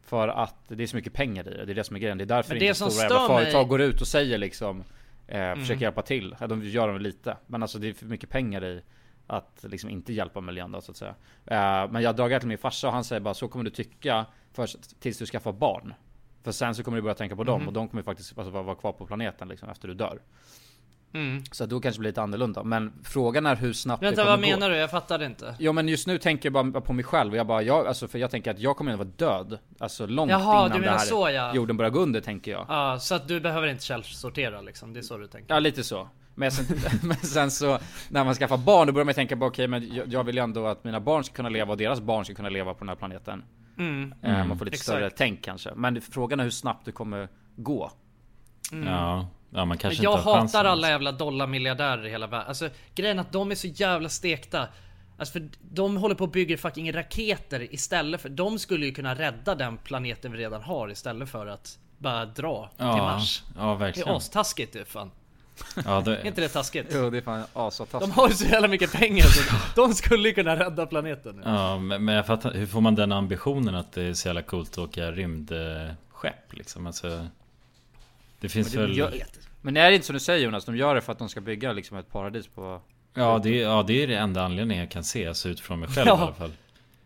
[SPEAKER 1] För att det är så mycket pengar i det, det är det som är grejen Det är därför
[SPEAKER 3] Men det
[SPEAKER 1] inte
[SPEAKER 3] som
[SPEAKER 1] stora jävla
[SPEAKER 3] stör mig- Mm.
[SPEAKER 1] företag går ut och säger liksom eh, Försöker hjälpa till, ja, de gör dem lite Men alltså det är för mycket pengar i Att liksom inte hjälpa miljön då så att säga eh, Men jag har dragit till min farsa och han säger bara så kommer du tycka först, Tills du skaffar barn För sen så kommer du börja tänka på dem
[SPEAKER 3] Mhm.
[SPEAKER 1] och de kommer ju faktiskt alltså, vara vara kvar på planeten liksom efter du dör
[SPEAKER 3] Mm.
[SPEAKER 1] så då kanske det blir lite annorlunda. Men frågan är hur snabbt
[SPEAKER 3] Vänta
[SPEAKER 1] det kommer
[SPEAKER 3] vad menar
[SPEAKER 1] gå.
[SPEAKER 3] du? Jag fattar inte.
[SPEAKER 1] Ja men just nu tänker jag bara på mig själv och jag bara, jag, alltså för jag tänker att jag kommer att vara död. Alltså långt
[SPEAKER 3] Jaha, du
[SPEAKER 1] innan det
[SPEAKER 3] menar
[SPEAKER 1] här
[SPEAKER 3] så, ja.
[SPEAKER 1] jorden börjar gå under tänker jag.
[SPEAKER 3] Ja, så att du behöver inte källsortera liksom. Det är så du tänker.
[SPEAKER 1] Ja lite så. Men sen, men sen så när man skaffar barn då börjar man tänka på okej men jag, jag vill ju ändå att mina barn ska kunna leva och deras barn ska kunna leva på den här planeten. Eh, man får lite
[SPEAKER 3] Mm. Exakt.
[SPEAKER 1] större tänk kanske. Men frågan är hur snabbt det kommer gå.
[SPEAKER 2] Ja, ja, man kanske
[SPEAKER 3] jag
[SPEAKER 2] inte har chansen
[SPEAKER 3] hatar alla jävla dollarmiljardärer i hela världen. Alltså grejen är att de är så jävla stekta. Alltså för de håller på och bygger fucking raketer istället för... De skulle ju kunna rädda den planeten vi redan har istället för att bara dra till
[SPEAKER 2] ja,
[SPEAKER 3] Mars.
[SPEAKER 2] ja,
[SPEAKER 3] Det
[SPEAKER 2] verkligen.
[SPEAKER 3] är astaskigt ju fan.
[SPEAKER 2] Ja, då,
[SPEAKER 3] Är inte det taskigt?
[SPEAKER 1] Jo det är fan asataskt.
[SPEAKER 3] De har ju så jävla mycket pengar så de skulle ju kunna rädda planeten. nu.
[SPEAKER 2] ja, men men jag fattar, hur får man den ambitionen att det är så jävla coolt att åka rymdskepp liksom? Alltså, det finns
[SPEAKER 1] Men det-
[SPEAKER 2] väl...
[SPEAKER 1] jag- Men är det inte som du säger Jonas? De gör det för att de ska bygga liksom ett paradis på
[SPEAKER 2] Ja det, är- ja, det är det enda anledningen jag kan se, alltså utifrån mig själv
[SPEAKER 3] Ja.
[SPEAKER 2] i alla fall.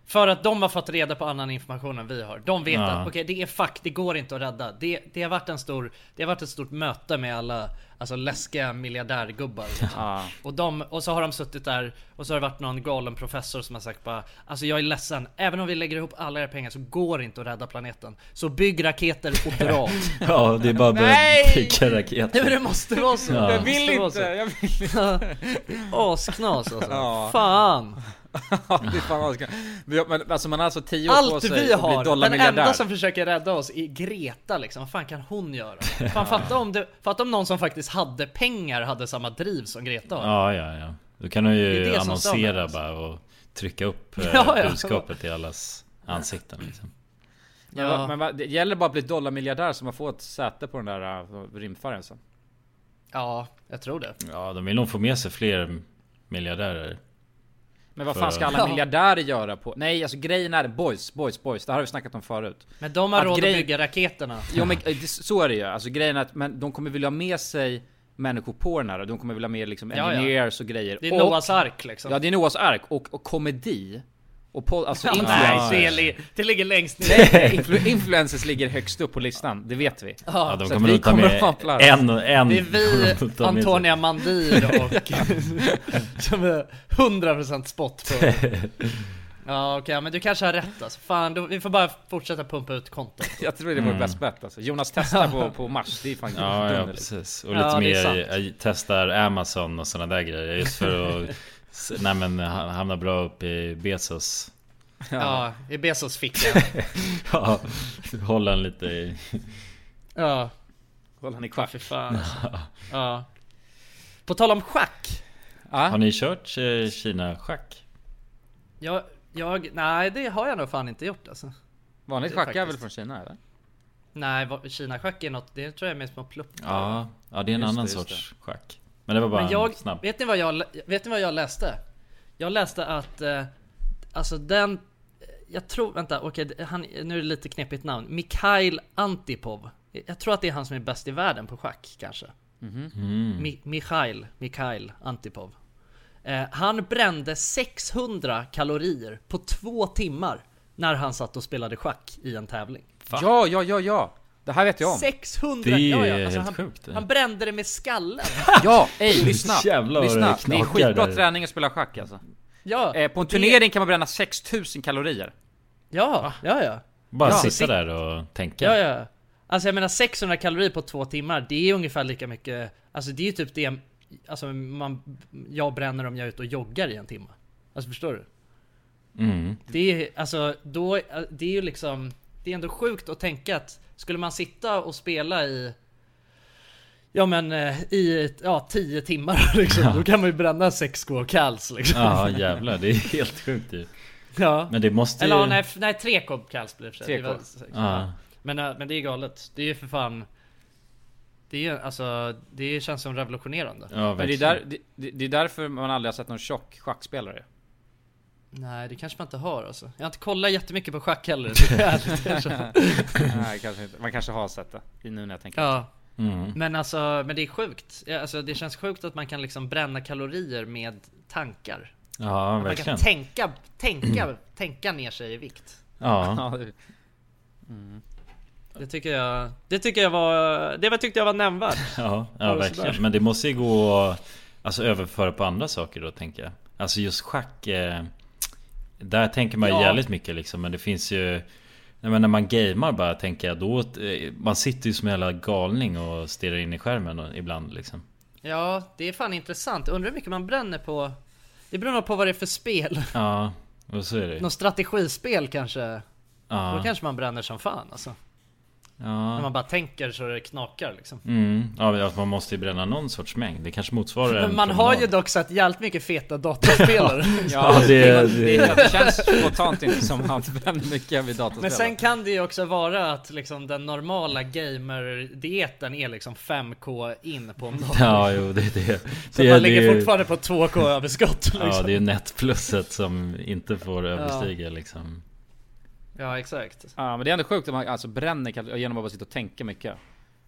[SPEAKER 3] För att de har fått reda på annan information än vi har. De vet
[SPEAKER 2] Ja.
[SPEAKER 3] att okej, det är fuck, det går inte att rädda. Det, det, har varit en stor, det har varit ett stort möte med alla alltså, läskiga miljardärgubbar.
[SPEAKER 1] Ja.
[SPEAKER 3] Och, de, och så har de suttit där och så har det varit någon galen professor som har sagt bara Alltså jag är ledsen, även om vi lägger ihop alla era pengar så går det inte att rädda planeten. Så bygg raketer och dra.
[SPEAKER 2] Ja, det är bara att börja
[SPEAKER 1] Nej!
[SPEAKER 2] pika
[SPEAKER 3] Nej men
[SPEAKER 2] raketer.
[SPEAKER 3] det måste vara så.
[SPEAKER 2] Ja.
[SPEAKER 3] Det
[SPEAKER 2] Jag
[SPEAKER 3] måste vara så.
[SPEAKER 1] Jag vill
[SPEAKER 3] Asknas alltså.
[SPEAKER 1] Ja.
[SPEAKER 3] Fan.
[SPEAKER 1] Ja, det är fan vad ska- Men jag- Men alltså man har alltså 10 år på
[SPEAKER 3] Allt
[SPEAKER 1] sig
[SPEAKER 3] vi
[SPEAKER 1] att bli
[SPEAKER 3] har, den
[SPEAKER 1] dollarmiljardär.
[SPEAKER 3] enda som försöker rädda oss är Greta liksom. Vad fan kan hon göra? Fan, fatta, om det, fatta om någon som faktiskt hade pengar hade samma driv som Greta har.
[SPEAKER 2] Ja, ja, ja. Då kan du
[SPEAKER 3] Det
[SPEAKER 2] ju
[SPEAKER 3] är det som stör mig,
[SPEAKER 2] annonsera
[SPEAKER 3] alltså.
[SPEAKER 2] bara och trycka upp eh,
[SPEAKER 3] Ja, ja.
[SPEAKER 2] budskapet i allas ansikten liksom.
[SPEAKER 1] Men, va- men va- det gäller bara att bli dollarmiljardär så man får ett säte på den där uh, rymdfärjan sen.
[SPEAKER 3] ja, jag tror det.
[SPEAKER 2] Ja, de vill nog få med sig fler miljardärer.
[SPEAKER 1] Men vad fan ska alla
[SPEAKER 3] Ja.
[SPEAKER 1] miljardärer göra på? Nej alltså grejen är boys, boys, boys. Det här har vi snackat om förut.
[SPEAKER 3] Men de har
[SPEAKER 1] Att
[SPEAKER 3] råd
[SPEAKER 1] grej-
[SPEAKER 3] att bygga raketerna.
[SPEAKER 1] Jo men eh, det, så är det ju. Alltså grejen är att men de kommer vilja ha med sig människor på den här. De kommer vilja ha med liksom
[SPEAKER 3] Ja, ja.
[SPEAKER 1] engineers och grejer.
[SPEAKER 3] Det är
[SPEAKER 1] och,
[SPEAKER 3] Noahs ark liksom.
[SPEAKER 1] Ja det är Noahs ark och, och komedi. Och på, alltså influencers.
[SPEAKER 3] Nej, det, li- det ligger längst ner.
[SPEAKER 1] Nej, influ- influencers ligger högst upp på listan, det vet vi.
[SPEAKER 2] Ja, de
[SPEAKER 1] så
[SPEAKER 2] Alltså, kommer
[SPEAKER 1] vi
[SPEAKER 2] nog ta
[SPEAKER 1] kommer att
[SPEAKER 2] med
[SPEAKER 1] fampla.
[SPEAKER 2] en, en.
[SPEAKER 3] Det är vi,
[SPEAKER 2] kommer de ta med sig.
[SPEAKER 3] Antonia Mandir och... som är 100% spott på. Ja okej, men du kanske har rätt alltså. Fan, då, vi får bara fortsätta pumpa ut content.
[SPEAKER 1] Jag tror det var bäst bett alltså. Jonas testar på, på Mars, det är fan
[SPEAKER 2] Mm.
[SPEAKER 1] liksom.
[SPEAKER 2] Ja, ja
[SPEAKER 1] dunderligt.
[SPEAKER 2] precis. Och
[SPEAKER 3] Ja,
[SPEAKER 2] lite
[SPEAKER 3] det är
[SPEAKER 2] mer, eh,
[SPEAKER 3] sant.
[SPEAKER 2] jag, jag testar Amazon och sådana där grejer just för att s- Nej men han hamnar bra upp i Bezos
[SPEAKER 3] Ja, i Bezos ficka.
[SPEAKER 2] Ja, hålla en lite i...
[SPEAKER 3] Ja,
[SPEAKER 1] Håll han i schack.
[SPEAKER 3] fy fan alltså. Ja. På tal om schack. Ah.
[SPEAKER 2] Har ni kört eh, Kina-schack?
[SPEAKER 3] Jag, jag, nej det har jag nog fan inte gjort alltså.
[SPEAKER 1] Vanligt
[SPEAKER 3] Det
[SPEAKER 1] schack är väl
[SPEAKER 3] faktiskt.
[SPEAKER 1] från Kina eller?
[SPEAKER 3] Nej, vad- Kina-schack är något, det tror jag är med små pluppar.
[SPEAKER 2] Ja, ja det är en
[SPEAKER 1] Just det,
[SPEAKER 2] annan
[SPEAKER 1] just
[SPEAKER 2] sorts schack Men det var bara
[SPEAKER 3] Men jag,
[SPEAKER 2] en snabb
[SPEAKER 3] vet ni vad jag, vet ni vad jag läste? Jag läste att, eh, alltså den, jag tror, vänta, okej, det- han, nu är det lite knepigt namn. Mikhail Antipov. Jag tror att det är han som är bäst i världen på schack kanske.
[SPEAKER 2] Mm-hmm.
[SPEAKER 3] Mi- Mikhail, Mikhail Antipov. Eh, han brände 600 kalorier på två timmar när han satt och spelade schack i en tävling.
[SPEAKER 1] Ja, ja, ja, ja! Det här vet jag om.
[SPEAKER 3] 600!
[SPEAKER 2] Det är
[SPEAKER 3] ja, ja,
[SPEAKER 2] helt
[SPEAKER 3] han,
[SPEAKER 2] sjukt, det.
[SPEAKER 3] Han brände det med skallen.
[SPEAKER 1] Ja! Ey, lyssna!
[SPEAKER 2] Jävlar vad
[SPEAKER 1] lyssna.
[SPEAKER 2] det
[SPEAKER 1] Det är
[SPEAKER 2] knakar
[SPEAKER 1] skitbra
[SPEAKER 2] där.
[SPEAKER 1] träning att spela schack alltså.
[SPEAKER 3] Ja,
[SPEAKER 1] Eh, på en
[SPEAKER 3] det-
[SPEAKER 1] turnering kan man bränna 6000 kalorier.
[SPEAKER 3] Ja, ja, ja.
[SPEAKER 2] Bara
[SPEAKER 3] Ja.
[SPEAKER 2] sitta där och tänka
[SPEAKER 3] Ja, ja. Alltså jag menar 600 kalorier på två timmar, det är ungefär lika mycket. Alltså det är ju typ det alltså, man, jag bränner om jag är ute och joggar i en timme. Alltså förstår du?
[SPEAKER 2] Mm.
[SPEAKER 3] Det är, alltså, då, det är ju liksom, det är ändå sjukt att tänka att skulle man sitta och spela i Ja men eh, i ett- ja, 10 timmar liksom, då kan man ju bränna 6 skor kals liksom. Ja.
[SPEAKER 2] Ja jävlar, det är helt sjukt ju. Men det måste ju...
[SPEAKER 3] Eller ja, nej, f- nej 3 kopp kals blir det för sig.
[SPEAKER 1] Tre
[SPEAKER 3] Det var
[SPEAKER 1] kopp.
[SPEAKER 3] sex.
[SPEAKER 2] Ja.
[SPEAKER 3] Men, eh, men det är galet. Det är ju för fan... Det är ju alltså, det känns som revolutionerande.
[SPEAKER 2] Ja,
[SPEAKER 1] Men det är,
[SPEAKER 2] verkligen.
[SPEAKER 1] där, det, det- det är därför man aldrig har sett någon tjock schackspelare.
[SPEAKER 3] Nej det kanske man inte har alltså. Jag har inte kollat jättemycket på schack heller. så jag ärligt erkänna.
[SPEAKER 1] Nej, kanske inte. Man kanske har sett det. Nu när jag tänker
[SPEAKER 3] ja.
[SPEAKER 2] Mm.
[SPEAKER 3] Men alltså, men det är sjukt. Ja, Alltså, det känns sjukt att man kan liksom bränna kalorier med tankar.
[SPEAKER 2] Ja,
[SPEAKER 3] Man
[SPEAKER 2] verkligen.
[SPEAKER 3] kan tänka, tänka, tänka ner sig i vikt.
[SPEAKER 2] Ja.
[SPEAKER 1] Ja, det-
[SPEAKER 3] Det tycker jag, det tycker jag var, det var, tyckte jag var nämnvärt.
[SPEAKER 2] Ja, ja
[SPEAKER 3] Bara
[SPEAKER 2] verkligen.
[SPEAKER 3] sådär.
[SPEAKER 2] Men det måste ju gå att alltså, överföra på andra saker då tänker jag. Alltså just schack. Eh, där tänker man ju
[SPEAKER 3] Ja.
[SPEAKER 2] jävligt mycket liksom. Men det finns ju... Nej, men när man gamer bara tänker jag då... eh, Man sitter ju som en jävla galning och stirrar in i skärmen och, ibland liksom.
[SPEAKER 3] Ja, det är fan intressant. Undrar hur mycket man bränner på, det beror nog på vad det är för spel.
[SPEAKER 2] Ja, och så är det ju.
[SPEAKER 3] Något strategispel kanske. Då
[SPEAKER 2] Ja,
[SPEAKER 3] kanske man bränner som fan alltså. När
[SPEAKER 2] ja.
[SPEAKER 3] man bara tänker så det knakar liksom.
[SPEAKER 2] Mm. ja men alltså, man måste ju bränna någon sorts mängd. Det kanske motsvarar en
[SPEAKER 3] Men man har ju
[SPEAKER 2] promenad.
[SPEAKER 3] dock sett jävligt mycket feta datorspelare.
[SPEAKER 1] ja,
[SPEAKER 7] det-
[SPEAKER 1] det, det, det, känns spontant inte som att bränner mycket vid datorspel.
[SPEAKER 3] Men sen kan det ju också vara att liksom den normala gamer-dieten är liksom 5k in på en dag.
[SPEAKER 2] Ja, jo det är det. det,
[SPEAKER 3] så man
[SPEAKER 2] det är
[SPEAKER 3] ligger
[SPEAKER 2] ju-
[SPEAKER 3] fortfarande på 2k överskott liksom.
[SPEAKER 2] Ja,
[SPEAKER 3] ja,
[SPEAKER 2] det är nätplusset som inte får överstiga liksom.
[SPEAKER 3] exakt.
[SPEAKER 1] Ja, men det är ändå sjukt att man alltså bränner kalorier genom att bara sitta och tänka mycket.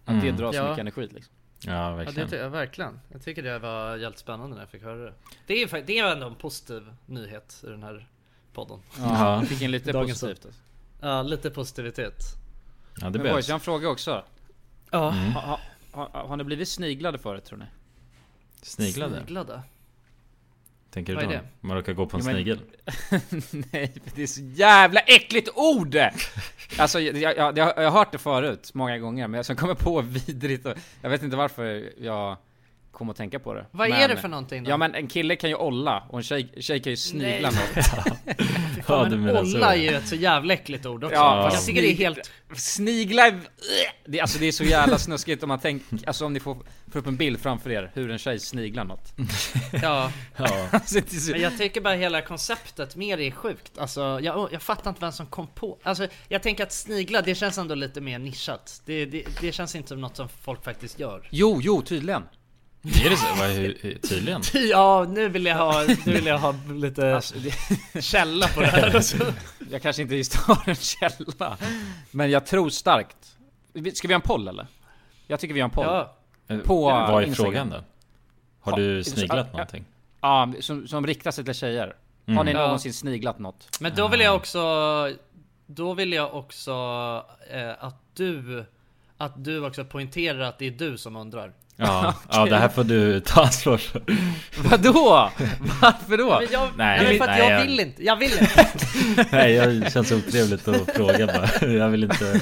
[SPEAKER 1] Att det
[SPEAKER 2] Mm.
[SPEAKER 1] drar så
[SPEAKER 3] Ja.
[SPEAKER 1] mycket energi liksom.
[SPEAKER 2] Ja,
[SPEAKER 3] Ja, det typ-
[SPEAKER 2] verkligen.
[SPEAKER 3] tycker jag verkligen. Jag tycker det var jävligt spännande när jag fick höra det. Det är, fakt- det är ändå en positiv nyhet i den här podden.
[SPEAKER 1] Ja, fick in lite
[SPEAKER 3] Dagens
[SPEAKER 1] positivt. Alltså.
[SPEAKER 3] Ja, lite positivitet.
[SPEAKER 2] Ja, det
[SPEAKER 1] Men boys,
[SPEAKER 2] behövs.
[SPEAKER 1] jag har en fråga också.
[SPEAKER 3] Ja,
[SPEAKER 2] Mm.
[SPEAKER 1] Ha, ha, har, har ni blivit sniglade förut tror ni?
[SPEAKER 2] Sniglade?
[SPEAKER 3] sniglade.
[SPEAKER 2] Tänker du
[SPEAKER 3] Vad
[SPEAKER 2] då?
[SPEAKER 3] är det?
[SPEAKER 2] Man råkar gå på en
[SPEAKER 1] Jo, men-
[SPEAKER 2] snigel?
[SPEAKER 1] Nej, för det är så jävla äckligt ord! Alltså, jag, jag, jag, jag har hört det förut många gånger, men jag som kommer på vidrigt och, Jag vet inte varför jag kom att tänka på det.
[SPEAKER 3] Vad
[SPEAKER 1] men,
[SPEAKER 3] är det för någonting då?
[SPEAKER 1] Ja men en kille kan ju olla och en tjej, tjej kan ju snigla
[SPEAKER 3] Nej.
[SPEAKER 1] något.
[SPEAKER 2] Ja,
[SPEAKER 3] ja,
[SPEAKER 2] du
[SPEAKER 3] men
[SPEAKER 2] menar så.
[SPEAKER 3] olla är ju ett så jävla äckligt ord också.
[SPEAKER 1] Ja,
[SPEAKER 3] jag
[SPEAKER 1] fast
[SPEAKER 3] tycker det är
[SPEAKER 1] snigla-
[SPEAKER 3] helt...
[SPEAKER 1] Snigla är- det, alltså det är så jävla snuskigt om man tänker, alltså om ni får, får upp en bild framför er hur en tjej sniglar något.
[SPEAKER 3] Ja.
[SPEAKER 2] Ja,
[SPEAKER 1] Alltså, det är så,
[SPEAKER 3] Men jag tycker bara hela konceptet med det är sjukt. Alltså, jag, jag fattar inte vem som kom på... Alltså, jag tänker att snigla, det känns ändå lite mer nischat. Det, det, det känns inte som något som folk faktiskt gör.
[SPEAKER 1] jo, jo tydligen.
[SPEAKER 2] är det så? Vad är- hur- hur- Tydligen?
[SPEAKER 3] Ja, nu vill jag ha, nu vill jag ha lite
[SPEAKER 1] Alltså, det,
[SPEAKER 3] källa på det här. Alltså.
[SPEAKER 1] jag kanske inte just har en källa. Men jag tror starkt. Vi- Ska vi göra en poll eller? Jag tycker vi gör en poll. Ja,
[SPEAKER 3] Ja,
[SPEAKER 1] På,
[SPEAKER 2] Vad är
[SPEAKER 1] Instagram.
[SPEAKER 2] frågan då? Har
[SPEAKER 1] Ja,
[SPEAKER 2] du
[SPEAKER 1] så-
[SPEAKER 2] sniglat
[SPEAKER 1] ja.
[SPEAKER 2] någonting?
[SPEAKER 1] som, som riktar sig till tjejer. Har ni
[SPEAKER 3] Mm. Ja.
[SPEAKER 1] någonsin sniglat något?
[SPEAKER 3] men då vill jag också... Då vill jag också eh, att du... Att du också poängterar att det är du som undrar.
[SPEAKER 2] Ja, ja det här får du ta ansvar för.
[SPEAKER 1] Vadå? Varför då?
[SPEAKER 3] Men jag,
[SPEAKER 2] Nej,
[SPEAKER 3] nej, men för
[SPEAKER 2] nej,
[SPEAKER 3] att jag
[SPEAKER 2] jag-
[SPEAKER 3] vill inte. Jag vill inte.
[SPEAKER 2] Nej, jag känns otrevligt att fråga bara. Jag vill inte...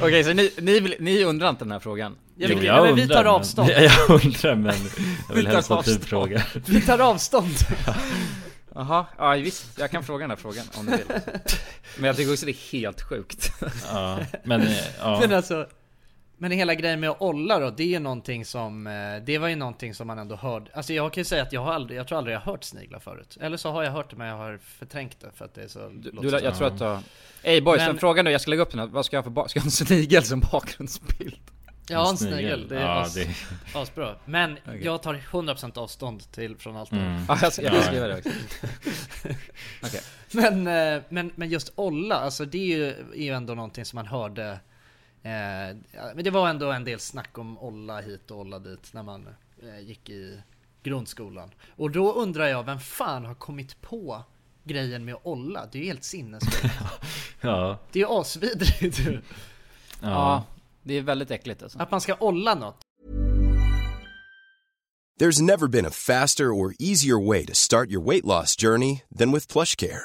[SPEAKER 1] Okej, så ni, ni, vill, ni undrar inte den här frågan?
[SPEAKER 3] Jag vill, men vi tar
[SPEAKER 2] men-
[SPEAKER 3] avstånd.
[SPEAKER 2] Ja, Jag undrar men jag vill
[SPEAKER 1] tar
[SPEAKER 2] helst att du
[SPEAKER 1] avstånd.
[SPEAKER 2] frågar.
[SPEAKER 3] Vi tar avstånd.
[SPEAKER 1] Jaha, ja visst, jag kan fråga den här frågan om ni vill. Men jag tycker också det är helt sjukt.
[SPEAKER 2] Ja, men eh,
[SPEAKER 3] Men
[SPEAKER 2] ja.
[SPEAKER 3] alltså Men hela grejen med att olla då, det är ju någonting som eh, Det var ju någonting som man ändå hörde Alltså jag kan ju säga att jag har aldrig, jag tror aldrig jag har hört sniglar förut Eller så har jag hört det men jag har förträngt det för att det är så
[SPEAKER 1] Du,
[SPEAKER 3] låter
[SPEAKER 1] du,
[SPEAKER 3] så-
[SPEAKER 1] jag tror att jag... Ey boys,
[SPEAKER 3] Men-
[SPEAKER 1] en fråga nu, jag ska lägga upp den här. Vad ska jag ha för ba- Ska jag ha en snigel som bakgrundsbild?
[SPEAKER 3] Ja en snigel, det är
[SPEAKER 2] ja,
[SPEAKER 3] as,
[SPEAKER 2] det,
[SPEAKER 3] asbra Men jag tar 100% avstånd till, från allt det här.
[SPEAKER 1] Ja, jag ska jag ska skriva det också.
[SPEAKER 3] Men, eh, men, men just olla, alltså det är ju, är ju ändå någonting som man hörde eh, ja, Men det var ändå en del snack om olla hit och olla dit när man eh, gick i grundskolan Och då undrar jag, vem fan har kommit på grejen med att olla? Det är ju helt sinnessjukt
[SPEAKER 2] ja,
[SPEAKER 3] Det är ju asvidrigt ju.
[SPEAKER 1] Ja,
[SPEAKER 2] ja.
[SPEAKER 1] det är väldigt äckligt alltså.
[SPEAKER 3] Att man ska olla något
[SPEAKER 6] There's never been a faster or easier way to start your weight loss journey than with PlushCare.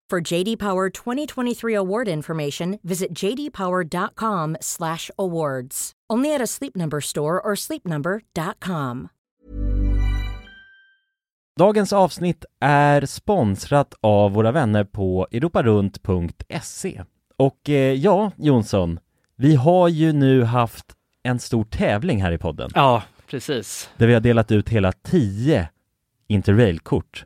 [SPEAKER 8] For JD Power 2023 award information, visit jdpower.com/awards. Only at a Sleep Number store or sleepnumber.com.
[SPEAKER 7] Dagens avsnitt är sponsrat av våra vänner på europarunt.se. Och eh, ja, Jonsson, vi har ju nu haft en stor tävling här i podden.
[SPEAKER 3] Ja, precis.
[SPEAKER 7] Där vi har delat ut hela 10 Interrail-kort.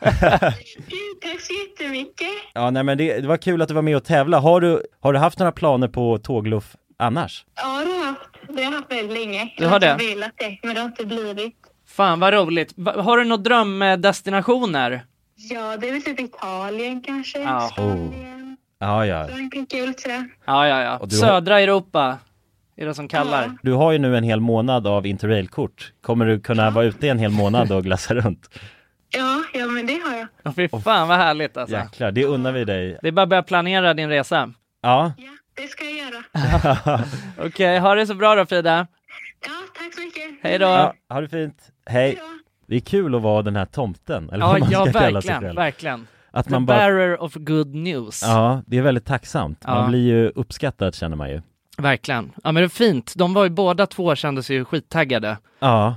[SPEAKER 9] Gud, Tack så jättemycket.
[SPEAKER 7] Ja, nej men det, det var kul att du var med och tävla. Har du, har du haft några planer på tågluff annars?
[SPEAKER 9] Ja, det har jag haft. Det har jag haft väldigt länge.
[SPEAKER 3] Du har det?
[SPEAKER 9] Jag har velat det, men det har inte blivit.
[SPEAKER 3] Fan vad roligt. Va- Har du några drömdestinationer?
[SPEAKER 9] Ja, det är väl typ Italien kanske.
[SPEAKER 3] Ja.
[SPEAKER 9] Spanien.
[SPEAKER 7] Oh. Ja, ja.
[SPEAKER 9] Frankrike, oh.
[SPEAKER 3] Ja, ja, ja.
[SPEAKER 7] Och du har-
[SPEAKER 3] Södra Europa är det som kallar.
[SPEAKER 7] Du har ju nu en hel månad av interrailkort. Kommer du kunna vara ute en hel månad och glassa runt?
[SPEAKER 9] Ja, ja, men det har jag.
[SPEAKER 3] Ja. Fy fan vad härligt alltså.
[SPEAKER 7] Jäklar, det unnar vi dig.
[SPEAKER 3] Det är bara att börja planera din resa.
[SPEAKER 7] Ja,
[SPEAKER 9] Ja, det ska jag göra.
[SPEAKER 3] Okej, Eh, ha det så bra då Frida.
[SPEAKER 9] Ja, tack så mycket.
[SPEAKER 3] Hej då.
[SPEAKER 7] ja
[SPEAKER 3] Ja,
[SPEAKER 7] ha det fint. Hej. Det är kul att vara den här tomten, eller vad
[SPEAKER 3] ja,
[SPEAKER 7] man ska kalla sig
[SPEAKER 3] verkligen,
[SPEAKER 7] själv.
[SPEAKER 3] verkligen.
[SPEAKER 7] Att
[SPEAKER 3] The
[SPEAKER 7] man bara,
[SPEAKER 3] bearer of good news.
[SPEAKER 7] ja, det är väldigt tacksamt. Man
[SPEAKER 3] Ja.
[SPEAKER 7] blir ju uppskattad känner man ju.
[SPEAKER 3] Verkligen. Ja men det är fint. De var ju båda två kändes ju skittaggade
[SPEAKER 7] Ja,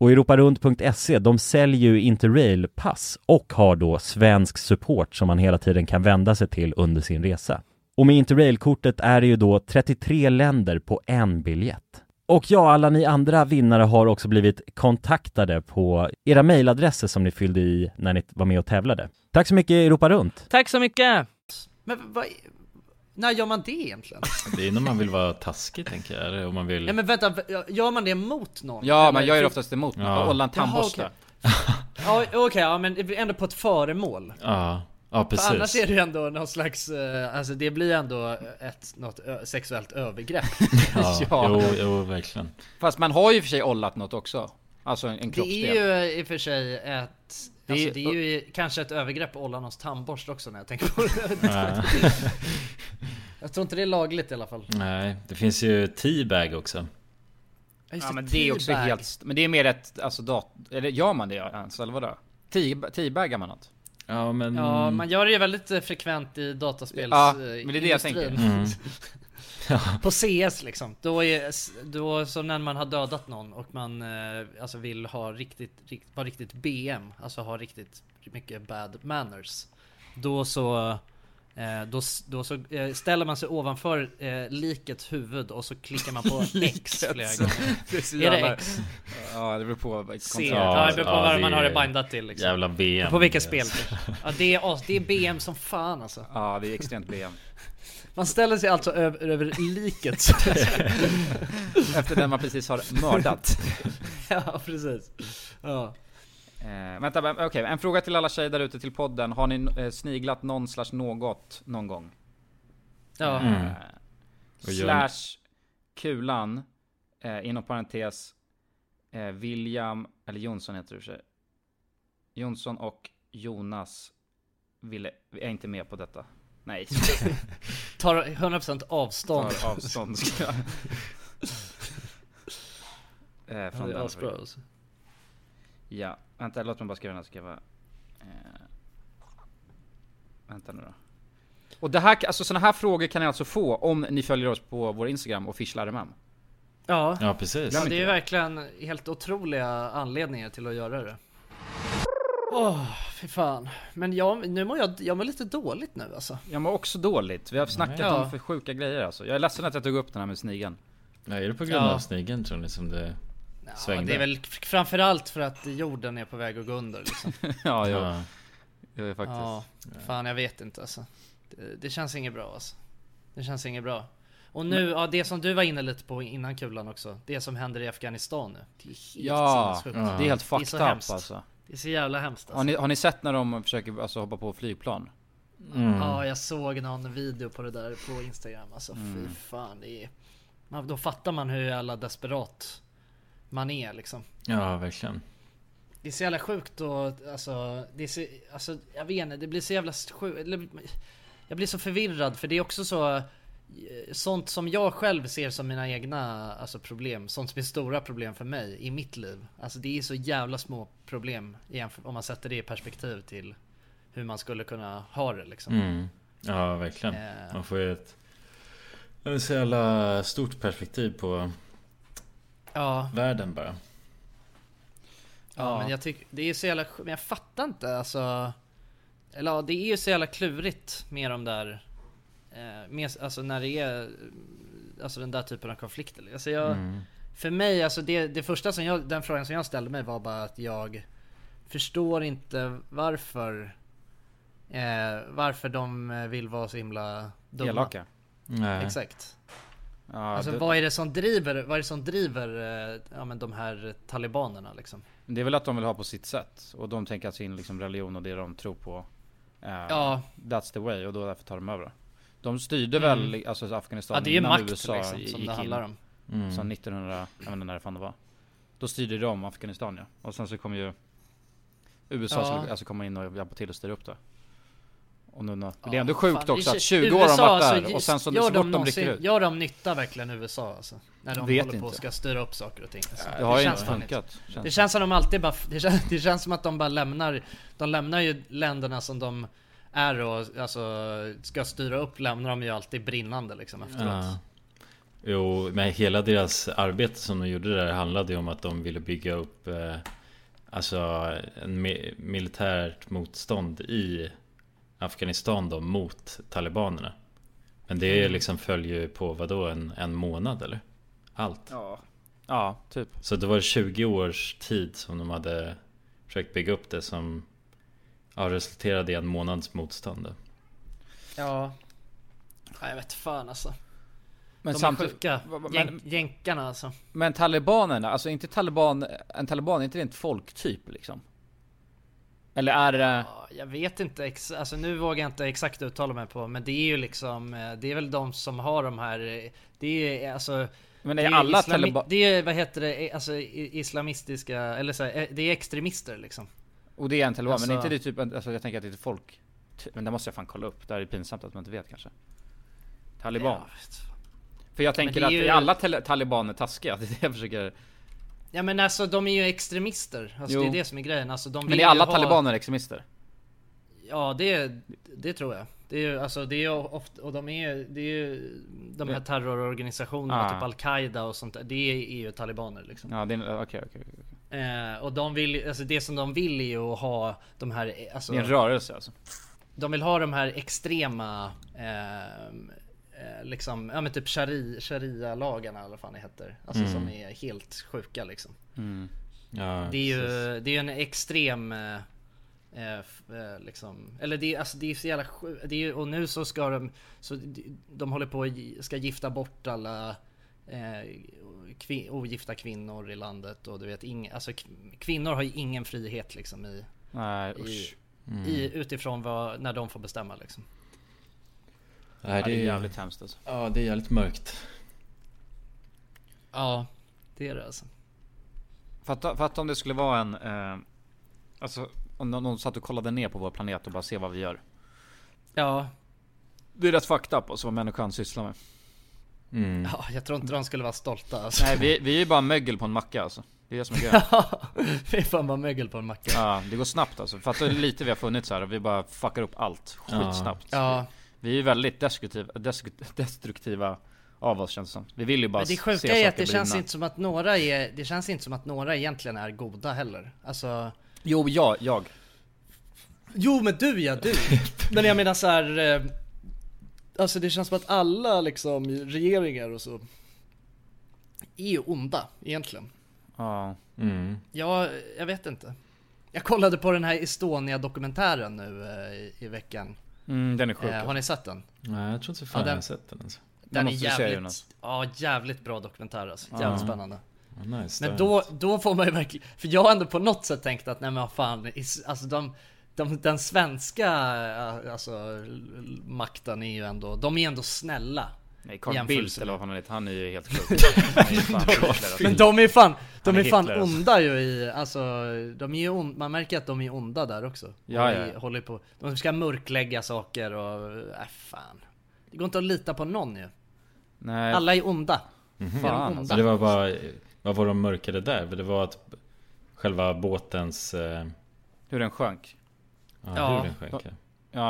[SPEAKER 7] Och europarunt.se, E, de säljer ju Interrail-pass och har då svensk support som man hela tiden kan vända sig till under sin resa. Och med Interrail-kortet är det ju då 33 länder på en biljett. Och ja, alla ni andra vinnare har också blivit kontaktade på era mejladresser som ni fyllde i när ni var med och tävlade. Tack så mycket Europa Runt!
[SPEAKER 4] Tack så mycket!
[SPEAKER 3] Men vad... När gör man det egentligen?
[SPEAKER 2] Det är när man vill vara taskig tänker jag, eller om man vill...
[SPEAKER 3] Ja men vänta, gör man det mot någon?
[SPEAKER 1] Ja, man
[SPEAKER 3] Eller-
[SPEAKER 1] gör det oftast emot.
[SPEAKER 2] Ja.
[SPEAKER 1] Ja. Olla en tandborste.
[SPEAKER 3] Jaha, Ja okej, ja men det är ändå på ett föremål.
[SPEAKER 2] Ja, ja
[SPEAKER 3] För annars
[SPEAKER 2] precis.
[SPEAKER 3] är det ju ändå någon slags, eh, alltså det blir ändå ett, något ö- sexuellt övergrepp.
[SPEAKER 2] Ja, Jo, jo, verkligen.
[SPEAKER 1] Fast man har ju i och för sig ollat något också. Alltså en, en
[SPEAKER 3] Det
[SPEAKER 1] kroppsdel.
[SPEAKER 3] är ju i och för sig ett, alltså
[SPEAKER 1] Det är-
[SPEAKER 3] det är ju kanske ett övergrepp att olla någons tandborste också när jag tänker på det.
[SPEAKER 2] Ja.
[SPEAKER 3] jag tror inte det är lagligt i alla fall.
[SPEAKER 2] Nej, det finns ju teabag också.
[SPEAKER 1] Ja men det är också helt... st- Men det är mer ett, alltså dat... Eller gör man det ens, eller vadå? Tio- Tiobagar man något?
[SPEAKER 2] Ja men...
[SPEAKER 3] Ja, man gör det ju väldigt eh, frekvent i
[SPEAKER 1] Mm.
[SPEAKER 3] dataspels...
[SPEAKER 1] Ja,
[SPEAKER 3] eh,
[SPEAKER 1] men det är det jag tänker.
[SPEAKER 3] industrin.
[SPEAKER 1] Mm.
[SPEAKER 3] På CS liksom. Då är, då som när man har dödat någon och man eh, alltså vill ha riktigt, rikt, vara riktigt BM, alltså ha riktigt mycket bad manners. Då så, eh, då, s- då så eh, ställer man sig ovanför eh, likets huvud och så klickar man på X flera
[SPEAKER 1] Likets. Det är så
[SPEAKER 3] gånger. är
[SPEAKER 1] jävla-
[SPEAKER 3] det X?
[SPEAKER 1] Ja, det beror på vad
[SPEAKER 3] C. Ja, det beror på vad man har det bindat till liksom.
[SPEAKER 2] Jävla VM.
[SPEAKER 3] På vilka spel? Ja, det, är, as- det är BM som fan alltså.
[SPEAKER 1] Ja, det är extremt BM.
[SPEAKER 3] Man ställer sig alltså över, över liket.
[SPEAKER 1] Efter den man precis har mördat.
[SPEAKER 3] ja, precis. Ja.
[SPEAKER 1] Eh, vänta, men- okej. en fråga till alla tjejer där ute till podden. Har ni eh, sniglat någon slash något någon gång?
[SPEAKER 3] Ja.
[SPEAKER 1] Eh,
[SPEAKER 3] Mm.
[SPEAKER 2] Och gör-
[SPEAKER 1] slash kulan, eh, inom parentes, eh, William, eller Jonsson heter det i och för sig. Jonsson och Jonas ville, är inte med på detta. Nej.
[SPEAKER 3] Tar 100% avstånd.
[SPEAKER 1] Tar avstånd, ska jag. Eh,
[SPEAKER 3] Ja,
[SPEAKER 1] från
[SPEAKER 3] det är
[SPEAKER 1] den
[SPEAKER 3] asbra,
[SPEAKER 1] frågan.
[SPEAKER 3] alltså.
[SPEAKER 1] Ja, vänta låt mig bara skriva den här så ska jag vara... Eh, vänta nu då. Och det här, alltså såna här frågor kan ni alltså få om ni följer oss på vår Instagram, officialrmm.
[SPEAKER 3] Ja.
[SPEAKER 2] Ja, precis.
[SPEAKER 3] Ja, det är ju verkligen helt otroliga anledningar till att göra det. Åh, fy fan. Men jag, nu mår jag, jag mår lite dåligt nu alltså.
[SPEAKER 1] Jag mår också dåligt, vi har snackat
[SPEAKER 3] Ja.
[SPEAKER 1] om för sjuka grejer alltså. Jag är ledsen att jag tog upp den här med snigeln.
[SPEAKER 2] Nej, är det på grund
[SPEAKER 3] Ja.
[SPEAKER 2] av snigeln tror ni som det
[SPEAKER 3] Ja,
[SPEAKER 2] svängde?
[SPEAKER 3] det är väl f- framförallt för att jorden är på väg att gå under liksom.
[SPEAKER 1] ja,
[SPEAKER 2] ja.
[SPEAKER 1] ja. Jag är faktiskt.
[SPEAKER 3] Ja, fan jag vet inte alltså. Det, det känns inget bra alltså. Det känns inget bra. Och nu, ja det som du var inne lite på innan kulan också. Det som händer i Afghanistan nu. Det är helt
[SPEAKER 1] Ja,
[SPEAKER 3] sinnessjukt.
[SPEAKER 1] det är helt
[SPEAKER 3] så
[SPEAKER 1] fucked up
[SPEAKER 3] hemskt.
[SPEAKER 1] alltså.
[SPEAKER 3] Det är så jävla hemskt alltså.
[SPEAKER 1] Har ni, har ni sett när de försöker alltså, hoppa på flygplan?
[SPEAKER 3] alltså.
[SPEAKER 1] Mm.
[SPEAKER 3] Ja, jag såg någon video på det där på Instagram. Alltså
[SPEAKER 1] Mm.
[SPEAKER 3] fy fan. Det är... man, då fattar man hur jävla desperat man är liksom.
[SPEAKER 2] Ja, verkligen.
[SPEAKER 3] Det är så jävla sjukt och alltså, det är så, alltså jag vet inte, det blir så jävla sjukt. Jag blir så förvirrad för det är också så eh, Sånt som jag själv ser som mina egna alltså, problem, sånt som är stora problem för mig i mitt liv. Alltså det är så jävla små problem jämfört- om man sätter det i perspektiv till hur man skulle kunna ha det liksom.
[SPEAKER 2] Mm. Ja, verkligen.
[SPEAKER 3] Eh.
[SPEAKER 2] Man får ju ett... Ett så jävla stort perspektiv på
[SPEAKER 3] Ja,
[SPEAKER 2] världen bara.
[SPEAKER 3] Ja, men jag tycker det är så jävla men jag fattar inte alltså. Eller ja, det är ju så jävla klurigt med de där eh, med, alltså när det är eh, alltså den där typen av konflikter. Alltså jag,
[SPEAKER 2] Mm.
[SPEAKER 3] för mig alltså det, det första som jag, den frågan som jag ställde mig var bara att jag förstår inte varför eh, varför de eh, vill vara så himla dumma.
[SPEAKER 1] Elaka.
[SPEAKER 2] Nej.
[SPEAKER 3] Exakt.
[SPEAKER 1] Ja,
[SPEAKER 3] alltså
[SPEAKER 1] det-
[SPEAKER 3] vad är det som driver, vad är det som driver eh, ja, men de här talibanerna liksom?
[SPEAKER 1] Det är väl att de vill ha på sitt sätt. Och de tänker att sin liksom religion och det de tror på. eh,
[SPEAKER 3] Ja.
[SPEAKER 1] That's the way och då därför tar de över. De styrde
[SPEAKER 3] Mm.
[SPEAKER 1] väl alltså, Afghanistan
[SPEAKER 3] Ja, det är ju
[SPEAKER 1] innan
[SPEAKER 3] makt,
[SPEAKER 1] USA
[SPEAKER 3] liksom, som
[SPEAKER 1] gick
[SPEAKER 3] det handlar
[SPEAKER 1] in.
[SPEAKER 3] om.
[SPEAKER 2] Mm.
[SPEAKER 1] Sen 1900, jag vet inte när det fan det var. Då styrde de Afghanistan ja. Och sen så kom ju USA
[SPEAKER 3] Ja.
[SPEAKER 1] skulle alltså komma in och hjälpa till och styra upp det. Och nu, när-
[SPEAKER 3] Ja,
[SPEAKER 1] det är ändå
[SPEAKER 3] fan,
[SPEAKER 1] sjukt
[SPEAKER 3] det
[SPEAKER 1] också
[SPEAKER 3] är
[SPEAKER 1] att
[SPEAKER 3] shit.
[SPEAKER 1] 20 år har de varit
[SPEAKER 3] USA,
[SPEAKER 1] där
[SPEAKER 3] alltså,
[SPEAKER 1] och sen så,
[SPEAKER 3] gör
[SPEAKER 1] så fort de
[SPEAKER 3] någonsin-
[SPEAKER 1] rycker ut.
[SPEAKER 3] Gör de nytta verkligen USA alltså? När de
[SPEAKER 1] Vet
[SPEAKER 3] håller på och
[SPEAKER 1] inte.
[SPEAKER 3] ska styra upp saker och ting. Alltså.
[SPEAKER 1] Det har ju inte
[SPEAKER 3] fan
[SPEAKER 1] funkat, känns
[SPEAKER 3] det
[SPEAKER 1] det.
[SPEAKER 3] känns som de alltid bara, det känns, det känns som att de bara lämnar, de lämnar ju länderna som de är och alltså ska styra upp lämnar de ju alltid brinnande liksom efteråt.
[SPEAKER 2] Ja. Jo, men hela deras arbete som de gjorde där handlade ju om att de ville bygga upp eh, Alltså en mi- militärt motstånd i Afghanistan då mot talibanerna. Men
[SPEAKER 3] Mm.
[SPEAKER 2] det liksom följer ju på vadå en, en månad eller? Allt.
[SPEAKER 1] Ja. Ja, typ.
[SPEAKER 2] Så det var 20 års tid som de hade försökt bygga upp det som ja, resulterade i en månads motstånd. då.
[SPEAKER 3] Ja. Nej, jag vet fan alltså.
[SPEAKER 1] Men
[SPEAKER 3] de
[SPEAKER 1] samtidigt-
[SPEAKER 3] är sjuka.
[SPEAKER 1] va- va-
[SPEAKER 3] Jän- jänkarna alltså.
[SPEAKER 1] Men talibanerna, alltså inte taliban, en taliban, är inte det en folktyp liksom? Eller är det...
[SPEAKER 3] Jag vet inte, ex- alltså nu vågar jag inte exakt uttala mig på men det är ju liksom eh, Det är väl de som har de här eh, Det är eh, alltså
[SPEAKER 1] Men är alla taliban-
[SPEAKER 3] Det är vad heter det, eh, alltså i- islamistiska eller så här, eh, det är extremister liksom
[SPEAKER 1] Och det är en taliban, men är
[SPEAKER 3] Alltså-
[SPEAKER 1] inte det typ, en- alltså jag tänker att det är ett folk... Men det måste jag fan kolla upp, det här är pinsamt att man inte vet kanske. Taliban. För jag tänker
[SPEAKER 3] det är
[SPEAKER 1] att
[SPEAKER 3] ju-
[SPEAKER 1] är alla tal- talibaner taskiga? Det är det jag försöker...
[SPEAKER 3] Ja men alltså de är ju extremister, alltså
[SPEAKER 1] Jo.
[SPEAKER 3] det är det som är grejen alltså, de
[SPEAKER 1] Men
[SPEAKER 3] vill
[SPEAKER 1] är
[SPEAKER 3] ju
[SPEAKER 1] alla
[SPEAKER 3] ha-
[SPEAKER 1] talibaner extremister?
[SPEAKER 3] Ja det, det tror jag. Det är ju, alltså det är ju ofta, och de är ju, det är ju de här
[SPEAKER 1] Ja.
[SPEAKER 3] terrororganisationerna,
[SPEAKER 1] Ah.
[SPEAKER 3] typ Al-Qaida och sånt där. Det är ju talibaner liksom.
[SPEAKER 1] Ja, det är... Okej, okej. okej.
[SPEAKER 3] Eh, och de vill ju- alltså det som de vill är ju att ha de här, eh, alltså.
[SPEAKER 1] Det är en rörelse alltså.
[SPEAKER 3] De vill ha de här extrema, ehm, eh, liksom, ja men typ shari, sharia-lagarna eller vad fan det heter. Alltså
[SPEAKER 2] Mm.
[SPEAKER 3] som är helt sjuka liksom.
[SPEAKER 2] Mm. Ja,
[SPEAKER 3] Det är ju det är ju en extrem eh, eh, f- eh, liksom, eller det är, alltså, det är så jävla sju- det är, ju- Och nu så ska de, så de- de håller på att gi- ska gifta bort alla eh, kvi, ogifta kvinnor i landet och du vet, ing, alltså kv- kvinnor har ju ingen frihet liksom i,
[SPEAKER 1] Nej,
[SPEAKER 3] i,
[SPEAKER 1] usch.
[SPEAKER 2] Mm.
[SPEAKER 3] i utifrån vad, när de får bestämma liksom.
[SPEAKER 2] Nej,
[SPEAKER 1] Ja, det är jävligt hemskt, alltså.
[SPEAKER 2] Ja, det är jävligt mörkt.
[SPEAKER 3] Ja, det är det alltså.
[SPEAKER 1] Fatta, fatta om det skulle vara en... Eh, alltså om någon, någon satt och kollade ner på vår planet och bara se vad vi gör.
[SPEAKER 3] Ja.
[SPEAKER 1] Det är rätt fucked up alltså vad människan sysslar med.
[SPEAKER 3] ja, jag tror inte de skulle vara stolta alltså.
[SPEAKER 1] Nej vi, vi är ju bara mögel på en macka alltså. Det är det som är grejen.
[SPEAKER 3] Fy fan vad mögel på en macka.
[SPEAKER 1] ja, det går snabbt alltså. Fatta hur lite vi har funnits här och vi bara fuckar upp allt skitsnabbt.
[SPEAKER 3] Ja.
[SPEAKER 1] Vi är ju väldigt destruktiva, desk- destruktiva av oss känns det som. Vi vill ju bara
[SPEAKER 3] Men det
[SPEAKER 1] se
[SPEAKER 3] sjuka
[SPEAKER 1] saker
[SPEAKER 3] är att det känns
[SPEAKER 1] brinna.
[SPEAKER 3] inte som att några är, det känns inte som att några egentligen är goda heller. Alltså,
[SPEAKER 1] Jo, jag, jag.
[SPEAKER 3] jo men du ja, du. men jag menar så här. eh, Alltså det känns som att alla liksom regeringar och så är ju onda egentligen.
[SPEAKER 1] Ja.
[SPEAKER 3] Jag, jag vet inte. Jag kollade på den här Estonia-dokumentären nu eh, i, i veckan.
[SPEAKER 1] Mm, den är sjuk.
[SPEAKER 3] Eh, har ni sett den?
[SPEAKER 2] Nej, jag tror inte fan
[SPEAKER 3] Ja,
[SPEAKER 2] jag
[SPEAKER 3] den-
[SPEAKER 2] har sett den alltså.
[SPEAKER 3] Den är
[SPEAKER 1] måste du se,
[SPEAKER 3] jävligt,
[SPEAKER 1] Jonas.
[SPEAKER 3] ja, jävligt bra dokumentär alltså. Jävligt
[SPEAKER 2] Ja.
[SPEAKER 3] spännande.
[SPEAKER 2] Ja, nice,
[SPEAKER 3] men
[SPEAKER 2] det har
[SPEAKER 3] då, då får man ju verkligen, för jag har ändå på något sätt tänkt att nej men vad fan, is- alltså de, de, den svenska eh, alltså, l- makten är ju ändå, de är ändå snälla.
[SPEAKER 1] Nej,
[SPEAKER 3] i
[SPEAKER 1] Carl
[SPEAKER 3] jämförelse
[SPEAKER 1] Bildt
[SPEAKER 3] med-
[SPEAKER 1] eller vad han heter, han är ju helt sjuk. Han är ju fan Hitler, alltså.
[SPEAKER 3] Men de är ju fan, de
[SPEAKER 1] Han
[SPEAKER 3] är
[SPEAKER 1] är
[SPEAKER 3] fan
[SPEAKER 1] Hitler, alltså.
[SPEAKER 3] onda ju i, alltså de är ju on, man märker att de är onda där också.
[SPEAKER 1] Ja,
[SPEAKER 3] de,
[SPEAKER 1] ja, ja.
[SPEAKER 3] Håller på, de ska mörklägga saker och, äh, fan. Det går inte att lita på någon ju.
[SPEAKER 1] Nej.
[SPEAKER 3] Alla är onda.
[SPEAKER 2] Mhm.
[SPEAKER 3] Är de onda?
[SPEAKER 1] alltså,
[SPEAKER 2] Så det var bara, vad var de mörkade där? Det var att själva båtens... eh,
[SPEAKER 1] Hur den sjönk.
[SPEAKER 2] Ja, Ja. hur den sjönk, ja.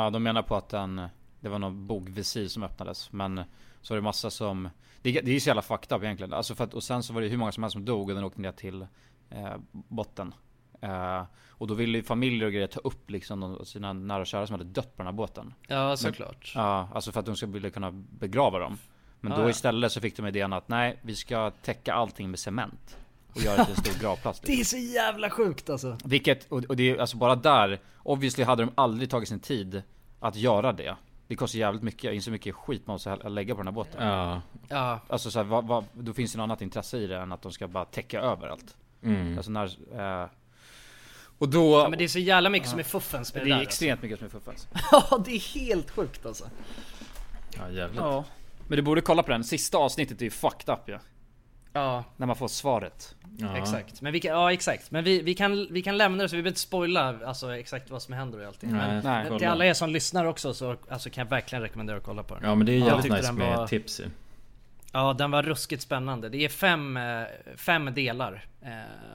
[SPEAKER 1] Ja, de menar på att den... Det var någon bogvisir som öppnades. Men så var det massa som... Det, är- det är ju så jävla fucked up egentligen. Alltså för att, och sen så var det hur många som helst som dog och den åkte ner till eh, botten. Eh, och då ville ju familjer och grejer ta upp liksom de, sina nära och kära som hade dött på den här båten.
[SPEAKER 3] Ja,
[SPEAKER 1] Men-
[SPEAKER 3] såklart.
[SPEAKER 1] Ja, alltså för att de skulle vilja kunna begrava dem. Men
[SPEAKER 3] Ah,
[SPEAKER 1] då
[SPEAKER 3] ja.
[SPEAKER 1] istället så fick de idén att nej, vi ska täcka allting med cement. Och göra det till en stor gravplats. liksom.
[SPEAKER 3] Det är så jävla sjukt alltså.
[SPEAKER 1] Vilket, och och det är alltså bara där, obviously hade de aldrig tagit sin tid att göra det. Det kostar jävligt mycket, inte så mycket skit man måste hä- lägga på den här båten.
[SPEAKER 2] Ja.
[SPEAKER 3] Ja.
[SPEAKER 1] Alltså så här, vad, vad, då finns det något annat intresse i det än att de ska bara täcka över allt.
[SPEAKER 2] Mm.
[SPEAKER 1] Alltså när, eh, och då...
[SPEAKER 3] Ja, men det är så jävla mycket som är fuffens med
[SPEAKER 1] det
[SPEAKER 3] det där, alltså.
[SPEAKER 1] är extremt mycket som är fuffens.
[SPEAKER 3] Ja, det är helt sjukt alltså.
[SPEAKER 2] Ja jävligt.
[SPEAKER 1] Ja. Men du borde kolla på den, sista avsnittet är ju fucked up ja.
[SPEAKER 3] Ja.
[SPEAKER 1] När man får svaret.
[SPEAKER 3] Exakt. Men vi kan, ja exakt. Men vi, vi, kan, vi kan lämna det så vi behöver inte spoila alltså, exakt vad som händer och allting.
[SPEAKER 2] Nej,
[SPEAKER 3] men,
[SPEAKER 2] nej,
[SPEAKER 3] men till
[SPEAKER 2] kolla.
[SPEAKER 3] alla er som lyssnar också så alltså, kan jag verkligen rekommendera att kolla på den.
[SPEAKER 2] Ja men det är
[SPEAKER 3] Jag
[SPEAKER 2] jävligt
[SPEAKER 3] tyckte
[SPEAKER 2] nice
[SPEAKER 3] den
[SPEAKER 2] med
[SPEAKER 3] var-
[SPEAKER 2] tips ju.
[SPEAKER 3] Ja, den var ruskigt spännande. Det är fem, eh, fem delar. eh,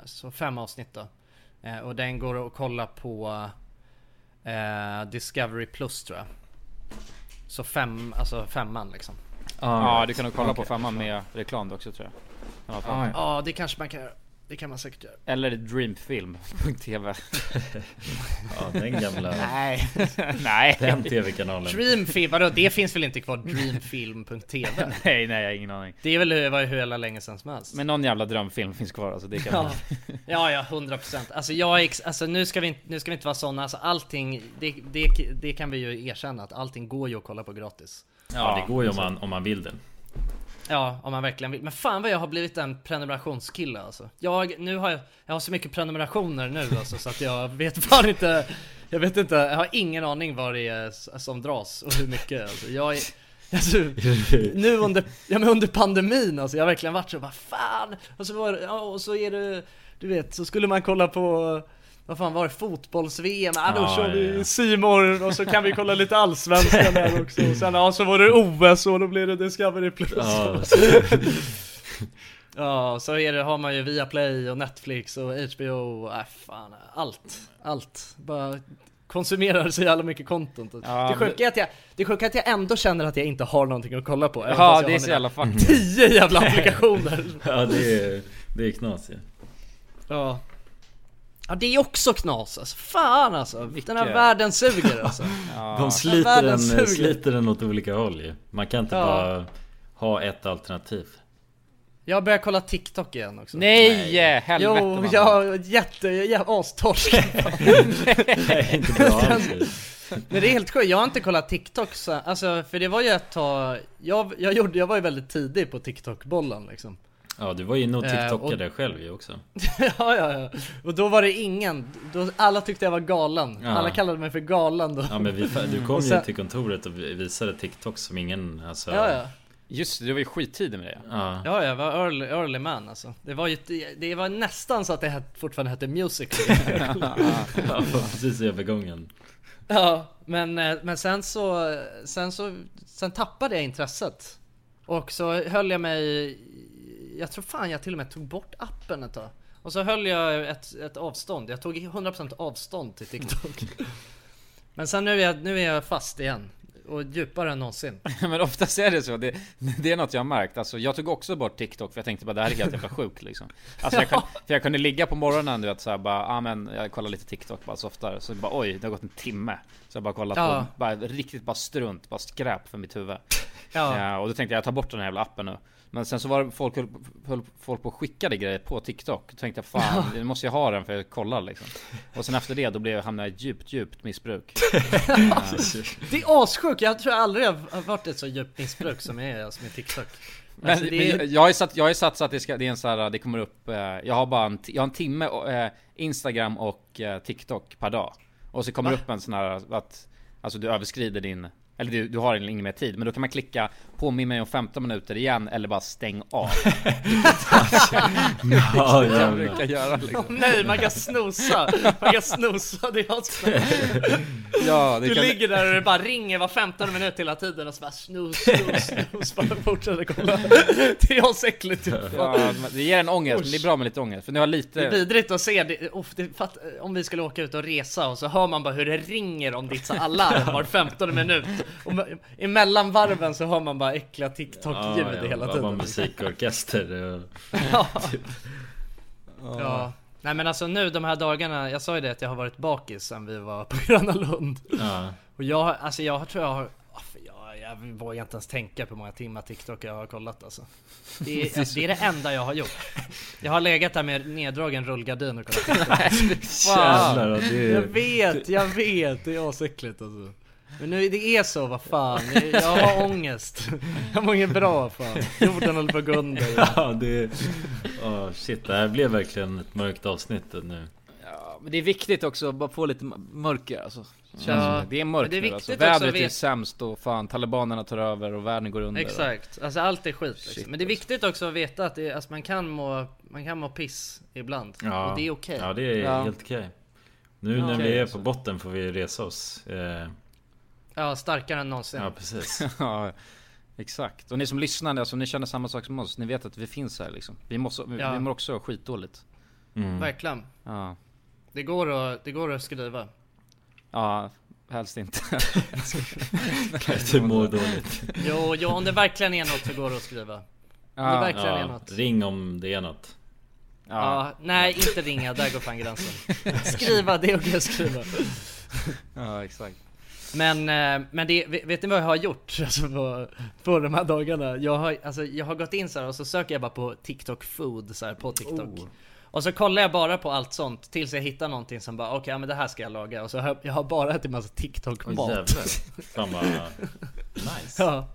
[SPEAKER 3] Så fem avsnitt då. Eh, Och den går att kolla på eh, Discovery Plus tror jag. Så fem, alltså femman liksom.
[SPEAKER 1] Ja, du kan nog kolla på femman med reklam också tror jag. I alla fall.
[SPEAKER 3] Ah, Ja, det kanske man kan göra. Det kan man säkert göra.
[SPEAKER 1] Eller dreamfilm.tv
[SPEAKER 2] Ja, den gamla-
[SPEAKER 3] Nej.
[SPEAKER 1] Nej.
[SPEAKER 2] Den TV-kanalen.
[SPEAKER 3] Dreamfilm, vadå? Det finns väl inte kvar? Dreamfilm.tv?
[SPEAKER 1] nej, nej, jag har ingen aning.
[SPEAKER 3] Det är väl det var ju hur jävla länge sedan som helst.
[SPEAKER 1] Men någon jävla drömfilm finns kvar alltså. Det kan
[SPEAKER 3] Ja, ja, ja 100 procent. Alltså, jag är ex- alltså nu, ska vi inte, nu ska vi inte vara sådana. Alltså, allting, det, det, det kan vi ju erkänna att allting går ju att kolla på gratis.
[SPEAKER 2] Ja, det går ju om man, om man vill det.
[SPEAKER 3] Ja, om man verkligen vill. Men fan vad jag har blivit en prenumerationskille alltså. Jag, nu har jag, jag har så mycket prenumerationer nu alltså, så att jag vet fan inte. Jag vet inte, jag har ingen aning vad det är s- som dras och hur mycket alltså. Jag är, alltså, nu under, ja, men under pandemin alltså, jag har verkligen varit så vad fan! Och så, var, det- ja, och så är det, du vet, så skulle man kolla på vad fan var det? Fotbolls-VM? Ja, då
[SPEAKER 10] Ja,
[SPEAKER 3] kör
[SPEAKER 10] ja,
[SPEAKER 3] vi
[SPEAKER 10] ja.
[SPEAKER 3] C More och så kan vi kolla lite allsvenskan där också. Och sen ja, så var det OS och då blev det Discovery Plus.
[SPEAKER 10] Ja.
[SPEAKER 3] Ja, så är det, har man ju Viaplay och Netflix och HBO och äh, fan, allt. Allt. Bara konsumerar så jävla mycket content. det, sjuka är att jag, det sjuka är att jag ändå känner att jag inte har någonting att kolla på. även
[SPEAKER 1] Ja,
[SPEAKER 3] fast jag
[SPEAKER 1] det är
[SPEAKER 3] har
[SPEAKER 1] så
[SPEAKER 3] mina
[SPEAKER 1] jävla fucked.
[SPEAKER 3] Tio jävla applikationer!
[SPEAKER 2] ja, det är, det är knas ju.
[SPEAKER 3] Ja. Ja det är också knas alltså, fan alltså! Den
[SPEAKER 2] Vilka-
[SPEAKER 3] här världen suger alltså!
[SPEAKER 2] De sliter den, sliter den åt olika håll ju. Man kan inte
[SPEAKER 3] Ja.
[SPEAKER 2] bara ha ett alternativ.
[SPEAKER 3] Jag börjar kolla TikTok igen också
[SPEAKER 1] Nej, Nej. helvete,
[SPEAKER 3] Jo,
[SPEAKER 1] mamma.
[SPEAKER 3] jag är jätte, jag är astorsk
[SPEAKER 1] Nej, inte bra alls.
[SPEAKER 3] Men det är helt sjukt, jag har inte kollat TikTok så, alltså för det var ju ett tag Jag, jag, gjorde, jag var ju väldigt tidig på TikTok-bollen liksom
[SPEAKER 2] Ja, du var ju nog
[SPEAKER 3] Eh, och-
[SPEAKER 2] tiktokare själv ju också.
[SPEAKER 3] ja, ja, ja. Och då var det ingen, då, alla tyckte jag var galen
[SPEAKER 2] Ja.
[SPEAKER 3] Alla kallade mig för galen då
[SPEAKER 2] Ja, men vi, du kom
[SPEAKER 3] Och sen-
[SPEAKER 2] ju till kontoret och vi- visade TikTok som ingen... Alltså,
[SPEAKER 3] Ja, ja.
[SPEAKER 1] Just det, du var ju skittidig med det.
[SPEAKER 2] Ja.
[SPEAKER 3] Ja, jag var early, early man alltså. Det var ju, det var nästan så att det het- fortfarande hette musical.
[SPEAKER 2] Ja, precis i övergången.
[SPEAKER 3] ja, men, eh, men sen så, sen så, sen tappade jag intresset. Och så höll jag mig, jag tror fan jag till och med tog bort appen ett tag. Och så höll jag ett, ett avstånd, jag tog 100% avstånd till TikTok. men sen nu är, jag, nu är jag fast igen. Och djupare än någonsin.
[SPEAKER 1] Men oftast är det så, det, det är något jag har märkt. Alltså, jag tog också bort TikTok för jag tänkte bara det här är helt jävla sjukt liksom. Alltså, jag kunde, för jag kunde ligga på morgonen du vet såhär bara, ah, men jag kollar lite TikTok bara softare. Så bara oj, det har gått en timme. Så jag bara kollat
[SPEAKER 3] Ja.
[SPEAKER 1] på, bara, riktigt bara strunt, bara skräp för mitt huvud.
[SPEAKER 3] Ja.
[SPEAKER 1] Ja. och då tänkte jag, jag tar bort den här jävla appen nu. Men sen så var det folk, höll, höll folk på och skickade grejer på TikTok. Då tänkte jag fan, nu måste jag ha den för jag kollar liksom. Och sen efter det, då blev jag, hamnade jag i djupt, djupt missbruk. Ja.
[SPEAKER 3] Det är assjukt, jag tror jag aldrig har varit ett så djupt missbruk som jag är alltså, med TikTok.
[SPEAKER 1] Men,
[SPEAKER 3] Alltså, det är...
[SPEAKER 1] men jag har ju satt, jag har ju satt så att det, ska, det är en så här, det kommer upp, eh, jag har bara en, ti- jag har en timme eh, Instagram och eh, TikTok per dag. Och så kommer det upp en sån här att, alltså du överskrider din, eller du, du har ingen mer tid. Men då kan man klicka påminn mig om 15 minuter igen eller bara stäng av. Det är
[SPEAKER 2] Ja,
[SPEAKER 1] det jag
[SPEAKER 2] jävlar.
[SPEAKER 1] brukar göra liksom.
[SPEAKER 3] Åh, nej, man kan snosa! Man kan snosa, det är assjukt.
[SPEAKER 1] Ja, det
[SPEAKER 3] Du
[SPEAKER 1] kan-
[SPEAKER 3] ligger där och det bara ringer var 15 minut hela tiden och så bara snus, snus, snus, bara fortsätter kolla. Det är asäckligt typ.
[SPEAKER 1] Ja, men det ger en ångest, men det är bra med lite ångest. För nu har jag lite...
[SPEAKER 3] Det är vidrigt att se det, uff, det fatt, om vi skulle åka ut och resa och så hör man bara hur det ringer om ditt så alarm var 15 minut och me- Emellan varven så hör man bara äckliga TikTok-ljud
[SPEAKER 2] Ja, ja,
[SPEAKER 3] hela
[SPEAKER 2] bara typ.
[SPEAKER 3] tiden
[SPEAKER 2] musikorkester och...
[SPEAKER 3] ja.
[SPEAKER 2] Ja.
[SPEAKER 3] ja Nej men alltså nu de här dagarna, jag sa ju det att jag har varit bakis sen vi var på Gröna Lund
[SPEAKER 2] Ja.
[SPEAKER 3] Och jag, har- alltså jag tror jag har ah, för jag, jag vågar inte ens tänka på hur många timmar TikTok jag har kollat alltså. Det är, alltså, det är det enda jag har gjort. Jag har legat där med neddragen rullgardin och kollat TikTok.
[SPEAKER 2] Jävlar, ja, det är-
[SPEAKER 3] Jag vet, jag vet. Det är asäckligt alltså. Men nu, det är så, vad fan. Jag har ångest. Jag mår inget bra fan. Jorden håller på att gå under.
[SPEAKER 2] Ja, det är... Ja, shit, det här blev verkligen ett mörkt avsnitt nu.
[SPEAKER 1] Ja, men det är viktigt också att bara få lite m- mörker alltså. Känns
[SPEAKER 3] Ja.
[SPEAKER 1] som det. det är mörkt
[SPEAKER 3] Det är
[SPEAKER 1] nu, alltså.
[SPEAKER 3] viktigt också att
[SPEAKER 1] Vädret är
[SPEAKER 3] veta-
[SPEAKER 1] sämst och fan talibanerna tar över och världen går under.
[SPEAKER 3] Exakt, alltså allt är skit
[SPEAKER 1] Shit,
[SPEAKER 3] liksom. Men det är viktigt också att veta att det, alltså, man, kan må, man kan må piss ibland.
[SPEAKER 2] Ja.
[SPEAKER 3] Och det är okej.
[SPEAKER 2] Ja, det är helt okej. Nu
[SPEAKER 3] Ja.
[SPEAKER 2] när vi
[SPEAKER 3] Okej,
[SPEAKER 2] är
[SPEAKER 3] alltså.
[SPEAKER 2] på botten får vi resa oss. Eh,
[SPEAKER 3] Ja, starkare än någonsin.
[SPEAKER 2] Ja, precis.
[SPEAKER 1] ja, exakt. Och ni som lyssnar, alltså, ni känner samma sak som oss. Ni vet att vi finns här liksom. Vi, måste,
[SPEAKER 3] Ja.
[SPEAKER 1] vi mår också skitdåligt.
[SPEAKER 2] Mm.
[SPEAKER 3] Verkligen.
[SPEAKER 1] Ja.
[SPEAKER 3] Det går att, det går att skriva.
[SPEAKER 1] Ja, Helst inte.
[SPEAKER 2] Katte mår dåligt.
[SPEAKER 3] Jo, jo, om det verkligen är något så går det att skriva. Om det verkligen är något.
[SPEAKER 2] Ring om det är något.
[SPEAKER 3] Ja. nej, inte ringa. Där går fan gränsen. Skriva, det är okej att skriva.
[SPEAKER 1] Ja, exakt.
[SPEAKER 3] Men, eh, men det, vet vet ni vad jag har gjort alltså, på, på de här dagarna? Jag har, alltså, jag har gått in så här och så söker jag bara på TikTok food så här, på TikTok.
[SPEAKER 10] Oh.
[SPEAKER 3] Och så kollar jag bara på allt sånt tills jag hittar någonting som bara okej, ja, men det här ska jag laga. Och så har jag- jag har bara ätit massa
[SPEAKER 2] Åh,
[SPEAKER 3] TikTok-mat.
[SPEAKER 2] jävlar. Fan, vad nice.
[SPEAKER 3] Ja.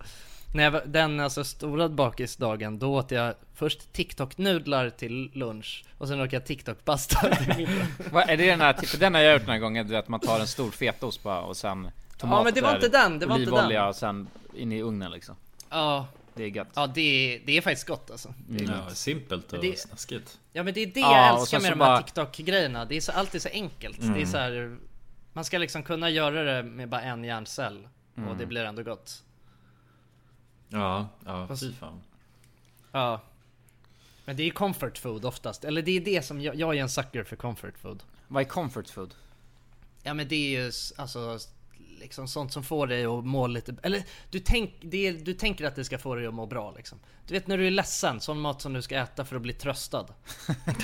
[SPEAKER 3] När jag var, den alltså stora bakisdagen, då åt jag först TikTok-nudlar till lunch och sen åt jag TikTok-pasta till middag.
[SPEAKER 1] Vad är det den här, för den har jag gjort den här gången, du vet man tar en stor fetaost bara och sen tomater,
[SPEAKER 3] men det var inte den, det var inte den.
[SPEAKER 1] olivolja och sen in i ugnen liksom.
[SPEAKER 3] Ja.
[SPEAKER 1] Det är gött.
[SPEAKER 3] Ja det, är- det är faktiskt gott alltså. Det är
[SPEAKER 2] Ja,
[SPEAKER 3] gott.
[SPEAKER 2] simpelt och
[SPEAKER 3] Men det-
[SPEAKER 2] snaskigt.
[SPEAKER 3] Ja men det är det
[SPEAKER 2] Ja,
[SPEAKER 3] jag
[SPEAKER 2] och
[SPEAKER 3] älskar
[SPEAKER 2] sen
[SPEAKER 3] med
[SPEAKER 2] så
[SPEAKER 3] de här
[SPEAKER 2] bara-
[SPEAKER 3] TikTok-grejerna. Det är så, alltid så enkelt. Det är
[SPEAKER 2] Mm.
[SPEAKER 3] så här, man ska liksom kunna göra det med bara en hjärncell. Och
[SPEAKER 2] Mm.
[SPEAKER 3] det blir ändå gott.
[SPEAKER 2] Ja, ja
[SPEAKER 3] Fast-
[SPEAKER 2] fy fan.
[SPEAKER 3] Ja. Men det är ju comfort food oftast. Eller det är det som, jag, jag är en sucker för comfort food.
[SPEAKER 1] Vad är comfort food?
[SPEAKER 3] Ja men det är ju s- alltså liksom sånt som får dig att må lite... Eller du, tänk, det är, du tänker att det ska få dig att må bra liksom. Du vet när du är ledsen, sån mat som du ska äta för att bli tröstad.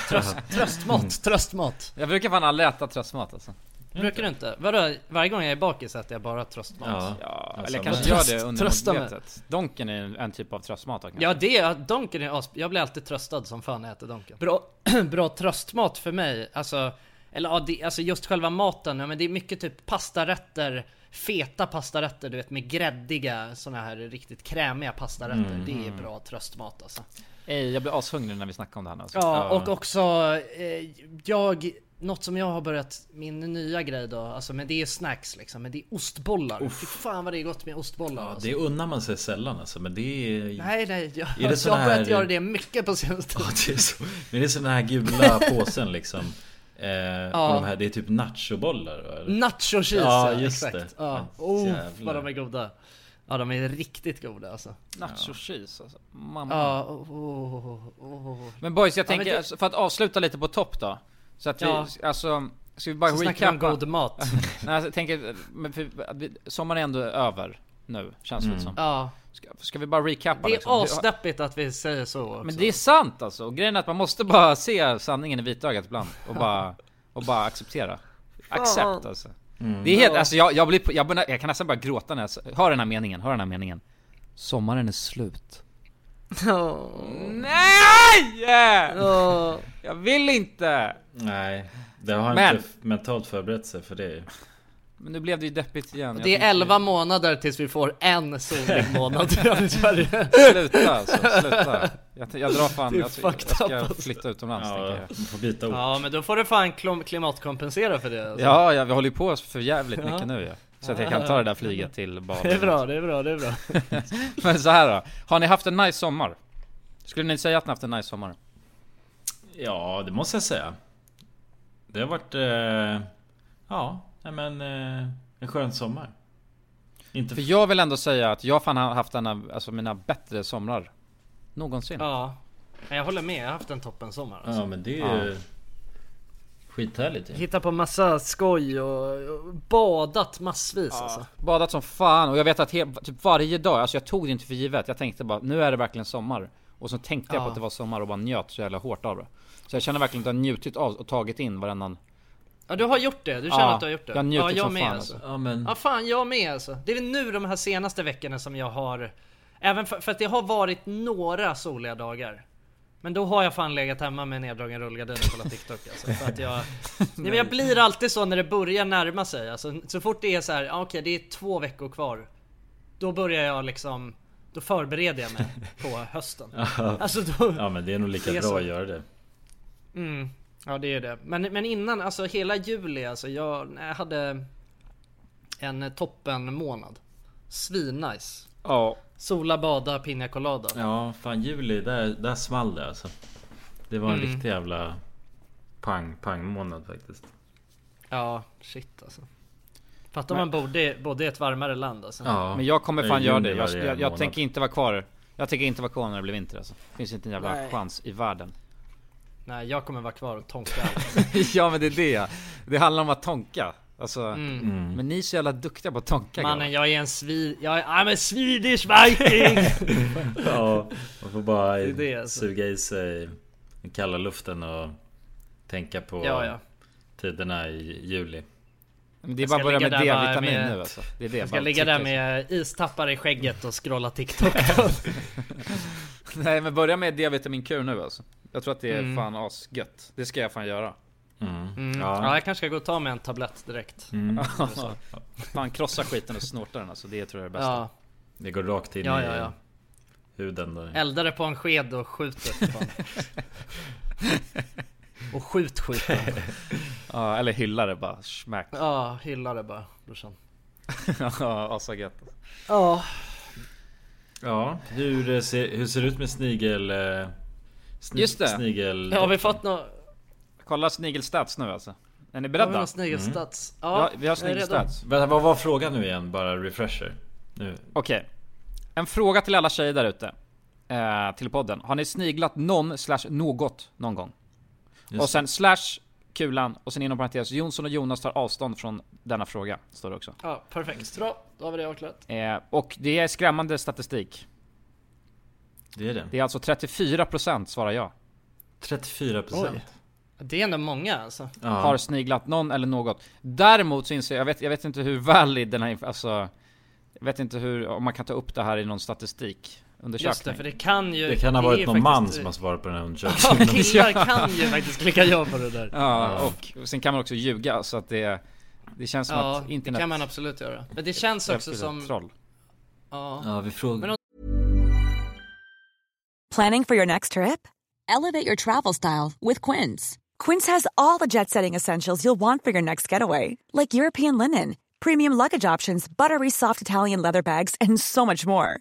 [SPEAKER 3] Tröst, tröstmat, tröstmat.
[SPEAKER 1] Jag brukar fan aldrig äta tröstmat alltså.
[SPEAKER 3] Brukar du inte? Vadå? Varje gång jag är bakis äter jag bara tröstmat.
[SPEAKER 1] Ja, eller jag kanske gör det undermedvetet. Donken är en typ av tröstmat då, kanske.
[SPEAKER 3] Ja det, är- donken är as... Jag blir alltid tröstad som fan när jag äter donken. Bra, bra tröstmat för mig, alltså... Eller ja, det, alltså just själva maten, ja, men det är mycket typ pastarätter, feta pastarätter du vet med gräddiga såna här riktigt krämiga pastarätter.
[SPEAKER 1] Mm.
[SPEAKER 3] Det är bra tröstmat alltså.
[SPEAKER 1] Ey, jag blir ashungrig när vi snackar om det här nu alltså.
[SPEAKER 3] Ja, och också eh, jag... Något som jag har börjat, min nya grej då, alltså men det är snacks liksom, men det är ostbollar. Fy fan vad det är gott med ostbollar
[SPEAKER 2] Ja,
[SPEAKER 3] alltså.
[SPEAKER 2] det unnar man sig sällan alltså, men det är...
[SPEAKER 3] Nej nej, jag,
[SPEAKER 2] det
[SPEAKER 3] jag har
[SPEAKER 2] såna
[SPEAKER 3] börjat
[SPEAKER 2] här-
[SPEAKER 3] göra det mycket på senaste
[SPEAKER 2] Ja, det är så. Men det är så den här gula påsen liksom. Eh, och de här, det är typ nachobollar eller?
[SPEAKER 3] Nacho cheese
[SPEAKER 2] ja,
[SPEAKER 3] ja,
[SPEAKER 2] just
[SPEAKER 3] exakt.
[SPEAKER 2] det.
[SPEAKER 3] Ja. Oh,
[SPEAKER 2] Jävlar.
[SPEAKER 3] vad de är goda. Ja de är riktigt goda alltså.
[SPEAKER 1] Nacho cheese alltså. Mamma.
[SPEAKER 3] Ja, oh, oh, oh, oh.
[SPEAKER 1] Men boys, jag
[SPEAKER 3] Ja, men
[SPEAKER 1] tänker,
[SPEAKER 3] det-
[SPEAKER 1] alltså, för att avsluta lite på topp då. Så att vi,
[SPEAKER 3] Ja.
[SPEAKER 1] alltså, ska vi bara
[SPEAKER 3] Så snackar
[SPEAKER 1] recapa?
[SPEAKER 3] vi om god mat.
[SPEAKER 1] Nej, alltså, jag tänker, men för, att vi- sommaren är ändå över nu, känns det
[SPEAKER 3] Mm.
[SPEAKER 1] som.
[SPEAKER 3] Ja.
[SPEAKER 1] Ska, ska vi bara recapa
[SPEAKER 3] Det är
[SPEAKER 1] liksom?
[SPEAKER 3] asdeppigt att vi säger så också.
[SPEAKER 1] Men det är sant alltså, och grejen är att man måste bara se sanningen i vitögat ibland och bara, och bara acceptera. Accept alltså.
[SPEAKER 2] Mm.
[SPEAKER 1] Det är helt,
[SPEAKER 2] Ja.
[SPEAKER 1] alltså jag, jag blir, på- jag, börjar- jag kan nästan bara gråta när jag s- hör den här meningen, hör den här meningen. Sommaren är slut. Nej! Jag vill inte!
[SPEAKER 2] Nej, det har
[SPEAKER 1] Men-
[SPEAKER 2] inte f- mentalt förberett sig för det ju.
[SPEAKER 1] Men nu blev det ju deppigt igen.
[SPEAKER 3] Det
[SPEAKER 1] Jag
[SPEAKER 3] är 11 månader tills vi får en solig månad i Sverige.
[SPEAKER 1] Sluta alltså, sluta. Jag, jag drar fan,
[SPEAKER 3] Det är
[SPEAKER 1] jag, jag
[SPEAKER 3] fucked up,
[SPEAKER 1] ska
[SPEAKER 3] alltså.
[SPEAKER 1] flytta utomlands
[SPEAKER 2] Ja,
[SPEAKER 1] tänker jag.
[SPEAKER 2] får byta
[SPEAKER 3] Ja men då får du fan klom- klimatkompensera för det alltså.
[SPEAKER 1] Ja, ja, vi håller ju på för jävligt
[SPEAKER 3] Ja.
[SPEAKER 1] mycket nu ju. Så att jag kan ta det där flyget till Bali.
[SPEAKER 3] Det är bra, det är bra, det är bra.
[SPEAKER 1] Men så här då. Har ni haft en nice sommar? Skulle ni säga att ni haft en nice sommar?
[SPEAKER 2] Ja, det måste jag säga. Det har varit... Eh, ja, nej, men eh, en skön sommar. Inte
[SPEAKER 1] För jag vill ändå säga att jag fan har haft en av alltså, mina bättre somrar. Någonsin.
[SPEAKER 3] Ja. Jag håller med, jag har haft en toppen sommar alltså.
[SPEAKER 2] Ja men det är ju
[SPEAKER 1] Ja.
[SPEAKER 2] skithärligt ju.
[SPEAKER 3] Hitta på massa skoj och och badat massvis alltså.
[SPEAKER 1] Badat som fan och jag vet att he- typ varje dag, alltså jag tog det inte för givet. Jag tänkte bara, nu är det verkligen sommar. Och så tänkte jag på
[SPEAKER 3] Ja.
[SPEAKER 1] att det var sommar och bara njöt så jävla hårt av det. Så jag känner verkligen att jag har njutit av och tagit in varannan.
[SPEAKER 3] Ja du har gjort det, du känner
[SPEAKER 1] Ja,
[SPEAKER 3] att du har gjort det.
[SPEAKER 1] jag har njutit
[SPEAKER 3] ja, jag
[SPEAKER 1] som
[SPEAKER 3] med
[SPEAKER 1] fan,
[SPEAKER 3] alltså.
[SPEAKER 1] alltså.
[SPEAKER 2] Ja, men-
[SPEAKER 3] ja fan jag med alltså. Det är väl nu de här senaste veckorna som jag har... Även för, för att det har varit några soliga dagar. Men då har jag fan legat hemma med neddragen rullgardin och kollat TikTok alltså. För att jag... Nej, men jag blir alltid så när det börjar närma sig. Alltså, så fort det är så här, ja, okej det är två veckor kvar. Då börjar jag liksom... Då förbereder jag mig på hösten.
[SPEAKER 2] Ja.
[SPEAKER 3] Alltså då...
[SPEAKER 2] Ja men det är nog lika
[SPEAKER 3] Det är
[SPEAKER 2] bra
[SPEAKER 3] så.
[SPEAKER 2] att göra det.
[SPEAKER 3] Mm, ja det är det. Men, men innan, alltså hela juli alltså, jag, jag hade en toppen månad. Svinnice.
[SPEAKER 1] Ja.
[SPEAKER 3] Sola, bada, piña colada.
[SPEAKER 2] Ja fan juli, där, där small det alltså. Det var en
[SPEAKER 3] Mm.
[SPEAKER 2] riktig jävla pang pang månad faktiskt.
[SPEAKER 3] Ja, shit alltså. Fattar om man bodde, bodde i ett varmare land alltså.
[SPEAKER 1] Men jag kommer fan göra det. Jag,
[SPEAKER 2] varje
[SPEAKER 1] jag, jag
[SPEAKER 2] månad.
[SPEAKER 1] tänker inte vara kvar. Jag tänker inte vara kvar när det blir vinter alltså. Finns inte en jävla
[SPEAKER 3] Nej.
[SPEAKER 1] chans i världen.
[SPEAKER 3] Nej, jag kommer vara kvar och tonka.
[SPEAKER 1] ja men det är det. Det handlar om att tonka. Alltså,
[SPEAKER 3] Mm.
[SPEAKER 2] Mm.
[SPEAKER 1] men ni är så jävla duktiga på att tonka
[SPEAKER 3] Mannen jag är en svi... Jag är, I'm a Swedish viking!
[SPEAKER 2] ja, man får bara
[SPEAKER 3] Det är det, alltså.
[SPEAKER 2] suga i sig den kalla luften och tänka på
[SPEAKER 3] Ja, ja.
[SPEAKER 2] tiderna i juli.
[SPEAKER 1] Men det är
[SPEAKER 3] Jag
[SPEAKER 1] bara
[SPEAKER 3] ska
[SPEAKER 1] att börja med
[SPEAKER 3] ligga där bara
[SPEAKER 1] D-vitamin
[SPEAKER 3] med-
[SPEAKER 1] nu alltså. Det är det.
[SPEAKER 3] Jag ska
[SPEAKER 1] bara
[SPEAKER 3] ligga där
[SPEAKER 1] trycka sig.
[SPEAKER 3] med istappar i skägget och scrolla TikTok
[SPEAKER 1] Nej men börja med D-vitaminkur nu alltså. Jag tror att det är
[SPEAKER 3] Mm.
[SPEAKER 1] fan asgött. Det ska jag fan göra.
[SPEAKER 3] mm. ja. jag kanske ska gå och ta mig en tablett direkt
[SPEAKER 2] Mm.
[SPEAKER 1] fan krossa skiten och snorta den alltså. Det tror jag är det bästa.
[SPEAKER 3] Ja,
[SPEAKER 2] Det går rakt in
[SPEAKER 3] Ja,
[SPEAKER 2] i
[SPEAKER 3] ja, ja.
[SPEAKER 2] huden. Där.
[SPEAKER 3] eldar det på en sked och skjuter fan. Och skjut skiten
[SPEAKER 1] Ja, eller hylla det bara. Smack.
[SPEAKER 3] Ja, hylla det bara brorsan
[SPEAKER 1] Ja, asagött.
[SPEAKER 3] Ja
[SPEAKER 2] Ja, hur eh, ser, hur ser det ut med snigel... eh, Sni,
[SPEAKER 1] Just det.
[SPEAKER 2] Snigel...
[SPEAKER 3] Har vi fått något?
[SPEAKER 1] Kolla snigelstats nu alltså. Är ni
[SPEAKER 3] Har vi
[SPEAKER 1] beredda?
[SPEAKER 3] någon snigelstats?
[SPEAKER 2] Mm.
[SPEAKER 1] Ja, vi har
[SPEAKER 3] jag är redo.
[SPEAKER 1] snigelstats.
[SPEAKER 2] Vänta, vad var frågan nu igen? Bara refresher. Nu.
[SPEAKER 1] Okej. En fråga till alla tjejer där ute. Eh, till podden. Har ni sniglat någon slash något någon gång?
[SPEAKER 2] Just
[SPEAKER 1] och sen slash kulan och sen inom parentes Jonsson och Jonas tar avstånd från denna fråga. Står det också.
[SPEAKER 3] Ja, perfekt. Bra, då har vi det avklarat.
[SPEAKER 1] Eh, och det är skrämmande statistik.
[SPEAKER 2] Det är det.
[SPEAKER 1] Det är alltså 34% svarar jag.
[SPEAKER 2] 34 procent.
[SPEAKER 3] Det är ändå många alltså.
[SPEAKER 1] Har sniglat någon eller något. Däremot så inser jag, jag vet, jag vet inte hur valid den här, inf- alltså. Jag vet inte hur, om man kan ta upp det här i någon statistikundersökning.
[SPEAKER 3] Just det, för det kan ju...
[SPEAKER 2] Det kan ha
[SPEAKER 3] är
[SPEAKER 2] varit
[SPEAKER 3] ju
[SPEAKER 2] någon man
[SPEAKER 3] faktiskt-
[SPEAKER 2] som har svarat på den här
[SPEAKER 3] Ja,
[SPEAKER 2] undersökningen.
[SPEAKER 3] killar kan ju faktiskt klicka ja på det där.
[SPEAKER 1] Ja, och, och sen kan man också ljuga så att det, det känns som
[SPEAKER 3] Ja,
[SPEAKER 1] att
[SPEAKER 3] det
[SPEAKER 1] internet...
[SPEAKER 3] kan man absolut göra. Men det känns också
[SPEAKER 1] Absolut,
[SPEAKER 3] som...
[SPEAKER 1] Troll.
[SPEAKER 3] Ja.
[SPEAKER 2] Ja, vi frågar.
[SPEAKER 5] Planning for your next trip?
[SPEAKER 11] Elevate your travel style with Quince.
[SPEAKER 5] Quince has all the jet setting essentials you'll want for your next getaway, like European linen, premium luggage options, buttery soft Italian leather bags, and so much more.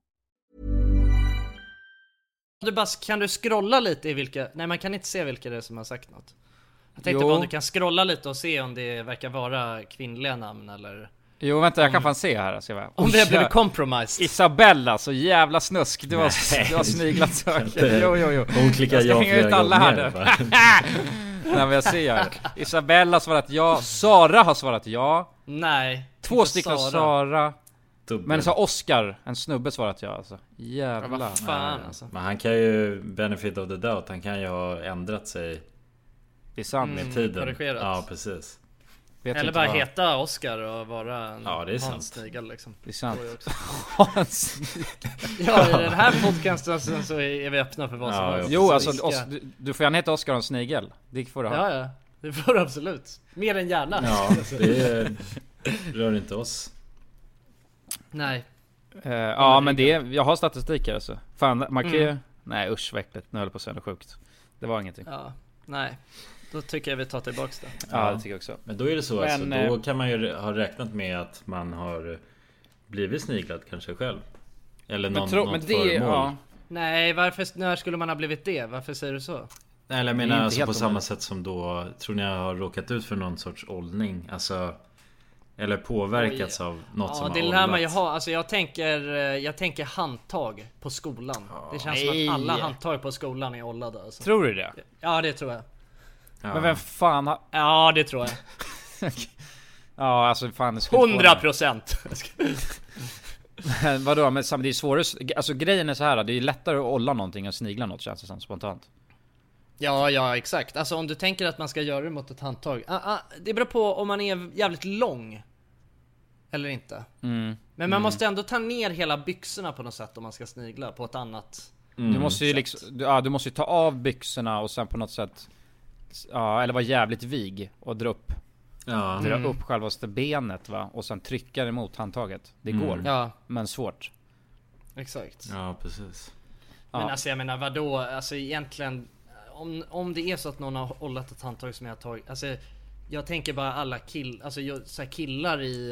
[SPEAKER 3] Du bara, kan du scrolla lite i vilka... Nej, man kan inte se vilka det är som har sagt något. Jag tänkte
[SPEAKER 1] Jo.
[SPEAKER 3] bara om du kan scrolla lite och se om det verkar vara kvinnliga namn eller...
[SPEAKER 1] Jo vänta, jag kan fan se här. Ska jag...
[SPEAKER 3] Om
[SPEAKER 1] Oj,
[SPEAKER 3] det har blivit
[SPEAKER 1] jag-
[SPEAKER 3] compromised.
[SPEAKER 1] Isabella, så jävla snusk. Du har,
[SPEAKER 2] Nej.
[SPEAKER 1] du har sniglat
[SPEAKER 2] Inte.
[SPEAKER 1] söker. Jo, jo, jo.
[SPEAKER 2] Hon klickar
[SPEAKER 1] jag ska
[SPEAKER 2] ja
[SPEAKER 1] hänga
[SPEAKER 2] flera
[SPEAKER 1] ut alla här
[SPEAKER 2] gånger,
[SPEAKER 1] nu.
[SPEAKER 2] va?
[SPEAKER 1] Nej men jag ser här. Isabella har svarat ja. Sara har svarat ja.
[SPEAKER 3] Nej.
[SPEAKER 1] Två
[SPEAKER 3] inte
[SPEAKER 1] stycken Sara.
[SPEAKER 2] Dubbel.
[SPEAKER 1] Men så har Oscar, en snubbe, svarat ja alltså. Jävlar.
[SPEAKER 3] Ja, vad fan alltså.
[SPEAKER 2] Men han kan ju benefit of the doubt. Han kan ju ha ändrat sig
[SPEAKER 1] Det är sant.
[SPEAKER 2] med
[SPEAKER 3] Mm,
[SPEAKER 2] tiden.
[SPEAKER 3] korrigerat.
[SPEAKER 2] Ja, precis.
[SPEAKER 1] Vet
[SPEAKER 3] Eller
[SPEAKER 1] inte
[SPEAKER 3] bara
[SPEAKER 1] vad-
[SPEAKER 3] heta Oscar och vara en
[SPEAKER 2] Ja, det är
[SPEAKER 3] ha en
[SPEAKER 2] sant.
[SPEAKER 3] snigel liksom.
[SPEAKER 1] Det är sant.
[SPEAKER 3] Går ju också.
[SPEAKER 1] Hans.
[SPEAKER 3] Ja, i den här podcasten så så är vi öppna för vad som
[SPEAKER 2] Ja,
[SPEAKER 3] helst.
[SPEAKER 1] Jo
[SPEAKER 3] Så
[SPEAKER 1] alltså,
[SPEAKER 3] vi ska-
[SPEAKER 1] Os- du, du får gärna heta Oscar och en snigel. Det får du ha.
[SPEAKER 3] Ja, ja. Det får du absolut. Mer än gärna.
[SPEAKER 2] Ja, det rör inte oss.
[SPEAKER 3] Nej.
[SPEAKER 1] Eh, ja men det, är- jag har statistik här alltså. Fan, man kan ju... Nej usch vad äckligt. nu höll jag på att säga något sjukt. Det var ingenting. Ja,
[SPEAKER 3] Ja. Nej. Då tycker jag vi tar tillbaks det.
[SPEAKER 1] det tycker jag också.
[SPEAKER 2] Men då är det så
[SPEAKER 1] Men,
[SPEAKER 2] alltså. Då
[SPEAKER 1] eh,
[SPEAKER 2] kan man ju ha räknat med att man har blivit sniglad kanske själv. Eller någon,
[SPEAKER 1] tro-
[SPEAKER 2] något
[SPEAKER 1] men det-
[SPEAKER 2] föremål.
[SPEAKER 1] ja.
[SPEAKER 3] Nej, varför, när skulle man ha blivit det? Varför säger du så?
[SPEAKER 2] Nej, eller jag
[SPEAKER 1] är
[SPEAKER 2] menar
[SPEAKER 1] inte
[SPEAKER 2] alltså
[SPEAKER 1] helt
[SPEAKER 2] på samma
[SPEAKER 1] omöjligt.
[SPEAKER 2] sätt som då Tror ni jag har råkat ut för någon sorts åldning? Alltså Eller påverkats av något som
[SPEAKER 3] Ja,
[SPEAKER 2] har
[SPEAKER 3] det lär man ju
[SPEAKER 2] åldrats.
[SPEAKER 3] ha. Alltså jag tänker, eh, jag tänker handtag på skolan. Det känns
[SPEAKER 1] Nej.
[SPEAKER 3] som att alla handtag på skolan är ollade alltså.
[SPEAKER 1] Tror du det?
[SPEAKER 3] Ja, det tror jag.
[SPEAKER 2] Ja.
[SPEAKER 1] Men vem fan har...
[SPEAKER 3] Ja, det tror jag.
[SPEAKER 1] Ja alltså fan... det skulle inte
[SPEAKER 3] 100
[SPEAKER 1] vara-
[SPEAKER 3] procent!
[SPEAKER 1] Men Vadå men sam- det är svårare... Alltså grejen är så här. det är lättare att olla någonting än snigla något känns det som spontant.
[SPEAKER 3] Ja, ja exakt. Alltså om du tänker att man ska göra det mot ett handtag. Ah, ah, det beror på om man är jävligt lång. Eller inte.
[SPEAKER 1] Mm.
[SPEAKER 3] Men man måste ändå ta ner hela byxorna på något sätt om man ska snigla på ett annat...
[SPEAKER 2] Mm,
[SPEAKER 1] Du måste ju liksom, du, ja, du måste ju ta av byxorna och sen på något sätt Ja, eller vara jävligt vig och dra upp
[SPEAKER 2] Ja.
[SPEAKER 1] Dra
[SPEAKER 2] Mm.
[SPEAKER 1] upp självaste benet va och sen trycka det mot handtaget Det
[SPEAKER 2] Mm.
[SPEAKER 1] går,
[SPEAKER 3] Ja.
[SPEAKER 1] men svårt
[SPEAKER 3] Exakt.
[SPEAKER 2] Ja, precis.
[SPEAKER 3] Men
[SPEAKER 1] Ja.
[SPEAKER 3] alltså jag menar vadå? Alltså egentligen om, om det är så att någon har hållit ett handtag som jag har tagit Alltså jag tänker bara alla kill, alltså, jag, så här killar i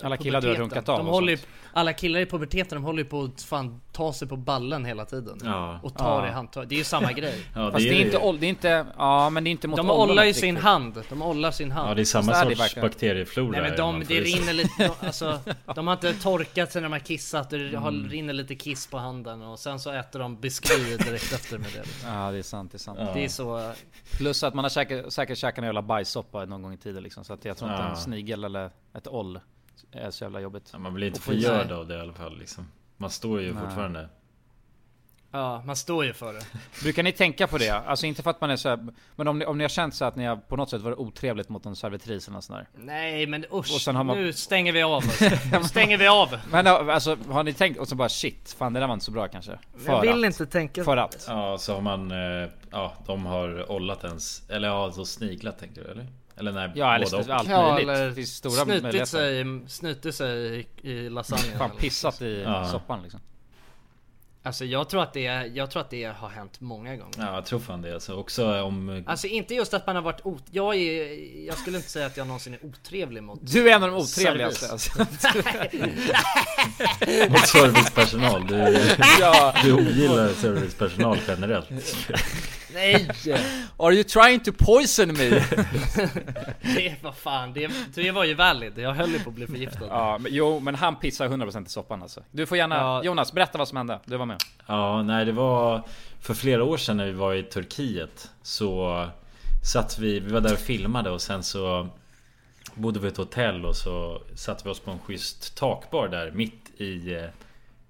[SPEAKER 3] eh,
[SPEAKER 1] Alla killar du har
[SPEAKER 3] puberteten.
[SPEAKER 1] runkat av
[SPEAKER 3] de
[SPEAKER 1] och
[SPEAKER 3] håller ju, Alla killar i puberteten de håller ju på att fan ta sig på ballen hela tiden
[SPEAKER 1] Ja.
[SPEAKER 3] Och tar
[SPEAKER 1] Ja.
[SPEAKER 3] i handtag, det är ju samma grej
[SPEAKER 1] Fast det är, inte, oll- det är inte, ja men det är inte mot
[SPEAKER 3] De
[SPEAKER 1] ollonet
[SPEAKER 3] ollar ju
[SPEAKER 1] riktigt.
[SPEAKER 3] sin hand, de ollar sin hand
[SPEAKER 2] Ja, det är samma
[SPEAKER 1] Så här, det
[SPEAKER 2] sorts
[SPEAKER 1] verkar-
[SPEAKER 2] bakterieflora.
[SPEAKER 3] Nej men
[SPEAKER 2] om
[SPEAKER 3] de,
[SPEAKER 2] man får
[SPEAKER 3] det
[SPEAKER 2] gissa.
[SPEAKER 3] rinner lite, de- alltså, de har inte torkat sig när de har kissat, det har-
[SPEAKER 2] Mm.
[SPEAKER 3] rinner lite kiss på handen och sen så äter de biskvi direkt efter med det liksom.
[SPEAKER 1] Ja det är sant, det är sant
[SPEAKER 3] Det är så...
[SPEAKER 1] Plus att man har säkert, säkert käkat en jävla bajssoppa någon gång i tiden liksom Så att jag tror inte
[SPEAKER 2] Ja.
[SPEAKER 1] en snigel eller ett oll är så jävla jobbigt
[SPEAKER 2] Man blir inte
[SPEAKER 1] Och få i sig.
[SPEAKER 2] förgörd av det i alla fall liksom. Man står ju
[SPEAKER 1] Nej.
[SPEAKER 2] fortfarande.
[SPEAKER 3] Ja, man står ju för det.
[SPEAKER 1] Brukar ni tänka på det? Alltså inte för att man är så här, Men om ni, om ni har känt så att ni har på något sätt varit otrevligt mot någon servitris eller något sånt där
[SPEAKER 3] Nej men usch,
[SPEAKER 1] Och sen har man-
[SPEAKER 3] nu stänger vi av oss. Nu stänger vi av.
[SPEAKER 1] Men ja, alltså har ni tänkt och så bara shit, fan det där var inte så bra kanske? För att.
[SPEAKER 3] inte tänka
[SPEAKER 1] För att.
[SPEAKER 2] Ja, så har man... eh, Ja, de har ollat ens... Eller ja, så sniglat tänker du eller? Eller nej,
[SPEAKER 1] Ja, eller
[SPEAKER 2] båda och.
[SPEAKER 1] allt
[SPEAKER 3] Ja,
[SPEAKER 1] möjligt.
[SPEAKER 3] eller
[SPEAKER 1] Det finns eh, stora
[SPEAKER 3] snutit
[SPEAKER 1] möjligheter.
[SPEAKER 3] sig, snutit sig i, i lasagnen.
[SPEAKER 1] Fan
[SPEAKER 3] eller-
[SPEAKER 1] pissat i
[SPEAKER 2] Ja.
[SPEAKER 1] soppan liksom
[SPEAKER 3] Alltså jag tror att det, jag tror att det har hänt många gånger.
[SPEAKER 2] Ja, jag tror fan det alltså. Också om...
[SPEAKER 3] Alltså inte just att man har varit ot- jag, är, jag skulle inte säga att jag någonsin är otrevlig mot
[SPEAKER 1] Du är en av de otrevligaste,
[SPEAKER 3] service.
[SPEAKER 1] alltså.
[SPEAKER 2] Mot servicepersonal. Du,
[SPEAKER 1] Ja.
[SPEAKER 2] du ogillar servicepersonal generellt.
[SPEAKER 3] Nej!
[SPEAKER 1] Are you trying to poison me?
[SPEAKER 3] Det var fan, det, det var ju valid. Jag höll ju på att bli förgiftad.
[SPEAKER 1] ja, men, jo men han pissar 100% i soppan alltså Du får gärna,
[SPEAKER 2] Ja.
[SPEAKER 1] Jonas berätta vad som hände, du var med
[SPEAKER 2] Ja, nej det var för flera år sedan när vi var i Turkiet så satt vi, vi var där och filmade och sen så bodde vi i ett hotell och så satte vi oss på en schysst takbar där mitt i eh,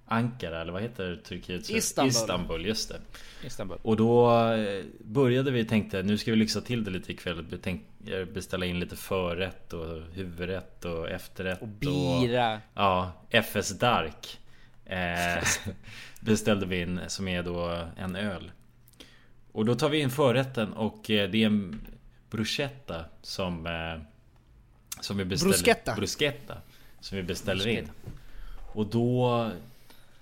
[SPEAKER 2] Ankara eller vad heter Turkiet?
[SPEAKER 1] Istanbul.
[SPEAKER 2] Istanbul, just det.
[SPEAKER 1] Istanbul
[SPEAKER 2] Och då eh, började vi tänkte nu ska vi lyxa till det lite ikväll. Vi tänker beställa in lite förrätt och huvudrätt och efterrätt. Och
[SPEAKER 1] bira.
[SPEAKER 2] ja, FS Dark. Eh, beställde vi in som är då en öl. Och då tar vi in förrätten och eh, det är en bruschetta som eh, som vi beställer.
[SPEAKER 3] Bruschetta.
[SPEAKER 2] bruschetta, som vi beställer in.
[SPEAKER 3] Bruschetta.
[SPEAKER 2] Och då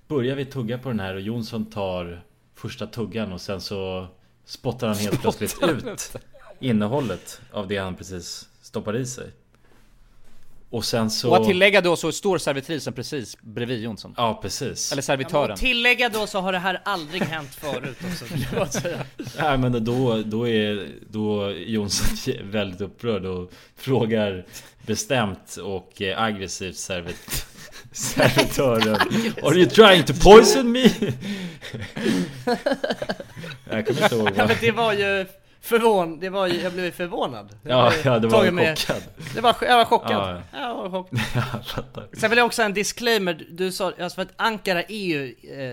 [SPEAKER 2] börjar vi tugga på den här och Jonsson tar första tuggan och sen så spottar han helt
[SPEAKER 1] Spottar
[SPEAKER 2] plötsligt
[SPEAKER 1] han
[SPEAKER 2] ut innehållet av det han precis stoppade i sig. Och sen så...
[SPEAKER 1] Och att tillägga då så står servitrisen precis bredvid Jonsson
[SPEAKER 2] Ja precis
[SPEAKER 1] Eller
[SPEAKER 3] Och
[SPEAKER 1] servitören
[SPEAKER 3] tillägga då så har det här aldrig hänt förut också vill jag säga.
[SPEAKER 2] Nej men då, då är då Jonsson väldigt upprörd och frågar bestämt och eh, aggressivt servit, servitören Are you trying to poison me? jag kommer inte ihåg
[SPEAKER 3] Ja,
[SPEAKER 2] vad...
[SPEAKER 3] men det var ju förvån, det var ju, jag blev ju förvånad. Jag
[SPEAKER 2] Ja,
[SPEAKER 3] blev
[SPEAKER 2] ja, det var
[SPEAKER 3] tagen
[SPEAKER 2] ju chockad.
[SPEAKER 3] Det var, jag var chockad.
[SPEAKER 2] Ja.
[SPEAKER 3] Jag var chockad.
[SPEAKER 2] jag fattar.
[SPEAKER 3] Sen vill jag också ha en disclaimer, du sa, alltså för att Ankara är ju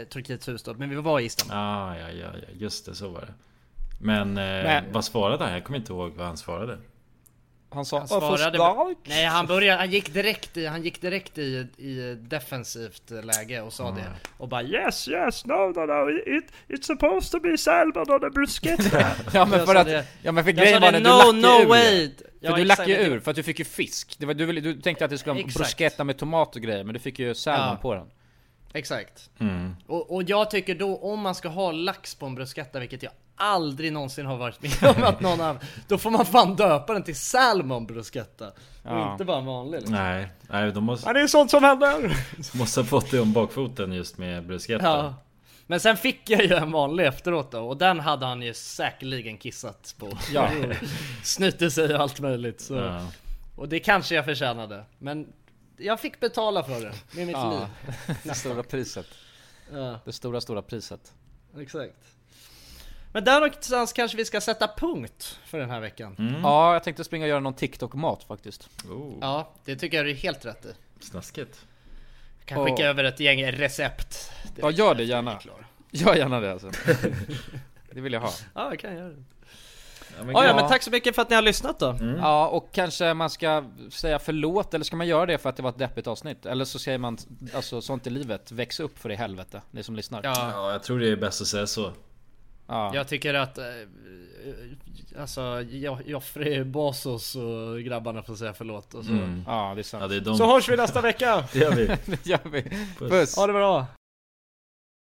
[SPEAKER 3] eh, Turkiets huvudstad, men vi var i Istanbul.
[SPEAKER 2] Ah, ja, ja, ja, just det, så var det. Men, eh,
[SPEAKER 3] Men-
[SPEAKER 2] vad svarade han? Jag kommer inte ihåg vad han svarade.
[SPEAKER 1] Han sa
[SPEAKER 3] Han svarade, nej han började, han gick direkt i, han gick direkt i, i defensivt läge och sa det. Och bara yes yes no no no it, it's supposed to be salmon on a bruschetta.
[SPEAKER 1] Ja men
[SPEAKER 3] Jag
[SPEAKER 1] för
[SPEAKER 3] sa
[SPEAKER 1] att,
[SPEAKER 3] det.
[SPEAKER 1] ja men för
[SPEAKER 3] Jag
[SPEAKER 1] grejen
[SPEAKER 3] sa
[SPEAKER 1] var
[SPEAKER 3] det,
[SPEAKER 1] det, du
[SPEAKER 3] no,
[SPEAKER 1] lackade
[SPEAKER 3] no
[SPEAKER 1] ur det.
[SPEAKER 3] way.
[SPEAKER 1] För
[SPEAKER 3] Ja,
[SPEAKER 1] du
[SPEAKER 3] exakt.
[SPEAKER 1] lackade ju ur för att du fick ju fisk Det var, du, ville- du tänkte att det skulle vara en
[SPEAKER 3] Exakt.
[SPEAKER 1] bruschetta med tomat och grejer men du fick ju salmon
[SPEAKER 3] Ja.
[SPEAKER 1] på den
[SPEAKER 3] Exakt.
[SPEAKER 2] Mm.
[SPEAKER 3] Och, och jag tycker då om man ska ha lax på en bruschetta, vilket jag aldrig någonsin har varit med om att någon har, Då får man fan döpa den till salmon bruschetta. Och
[SPEAKER 2] Ja.
[SPEAKER 3] inte bara en vanlig liksom.
[SPEAKER 2] Nej, nej de måste,
[SPEAKER 3] Ja, det är sånt som händer!
[SPEAKER 2] måste ha fått det om bakfoten just med bruschetta.
[SPEAKER 3] Ja. Men sen fick jag ju en vanlig efteråt då och den hade han ju säkerligen kissat på.
[SPEAKER 2] Ja.
[SPEAKER 3] Snutit sig och allt möjligt. Så.
[SPEAKER 2] Ja.
[SPEAKER 3] Och det kanske jag förtjänade. Men jag fick betala för det med mitt
[SPEAKER 1] Ja.
[SPEAKER 3] liv.
[SPEAKER 1] Det stora priset
[SPEAKER 3] Ja.
[SPEAKER 1] Det stora stora priset
[SPEAKER 3] Exakt. Men där någonstans kanske vi ska sätta punkt för den här veckan.
[SPEAKER 1] Ja jag tänkte springa och göra någon TikTok-mat faktiskt
[SPEAKER 3] Ja, det tycker jag du är helt rätt i.
[SPEAKER 2] Snaskigt.
[SPEAKER 3] Jag kan skicka
[SPEAKER 1] Och-
[SPEAKER 3] över ett gäng recept.
[SPEAKER 1] Ja gör det gärna Gör gärna det alltså Det vill jag ha
[SPEAKER 3] Ja, jag kan göra det. men Ja, ja, men tack så mycket för att ni har lyssnat då.
[SPEAKER 1] Ja, och kanske man ska säga förlåt, eller ska man göra det för att det var ett deppigt avsnitt? Eller så säger man, alltså sånt i livet, väx upp för i helvete, ni som lyssnar.
[SPEAKER 3] Ja.
[SPEAKER 2] Ja, jag tror det är bäst att säga så.
[SPEAKER 1] Ja.
[SPEAKER 3] Jag tycker att eh, Alltså Jo- Joffrey Basos och grabbarna får säga förlåt och så.
[SPEAKER 2] Mm.
[SPEAKER 1] Ja, det är sant.
[SPEAKER 2] Ja, det är de.
[SPEAKER 3] Så hörs vi nästa vecka!
[SPEAKER 2] Det gör vi.
[SPEAKER 1] det gör vi.
[SPEAKER 2] Puss.
[SPEAKER 1] Puss.
[SPEAKER 3] Ha det bra!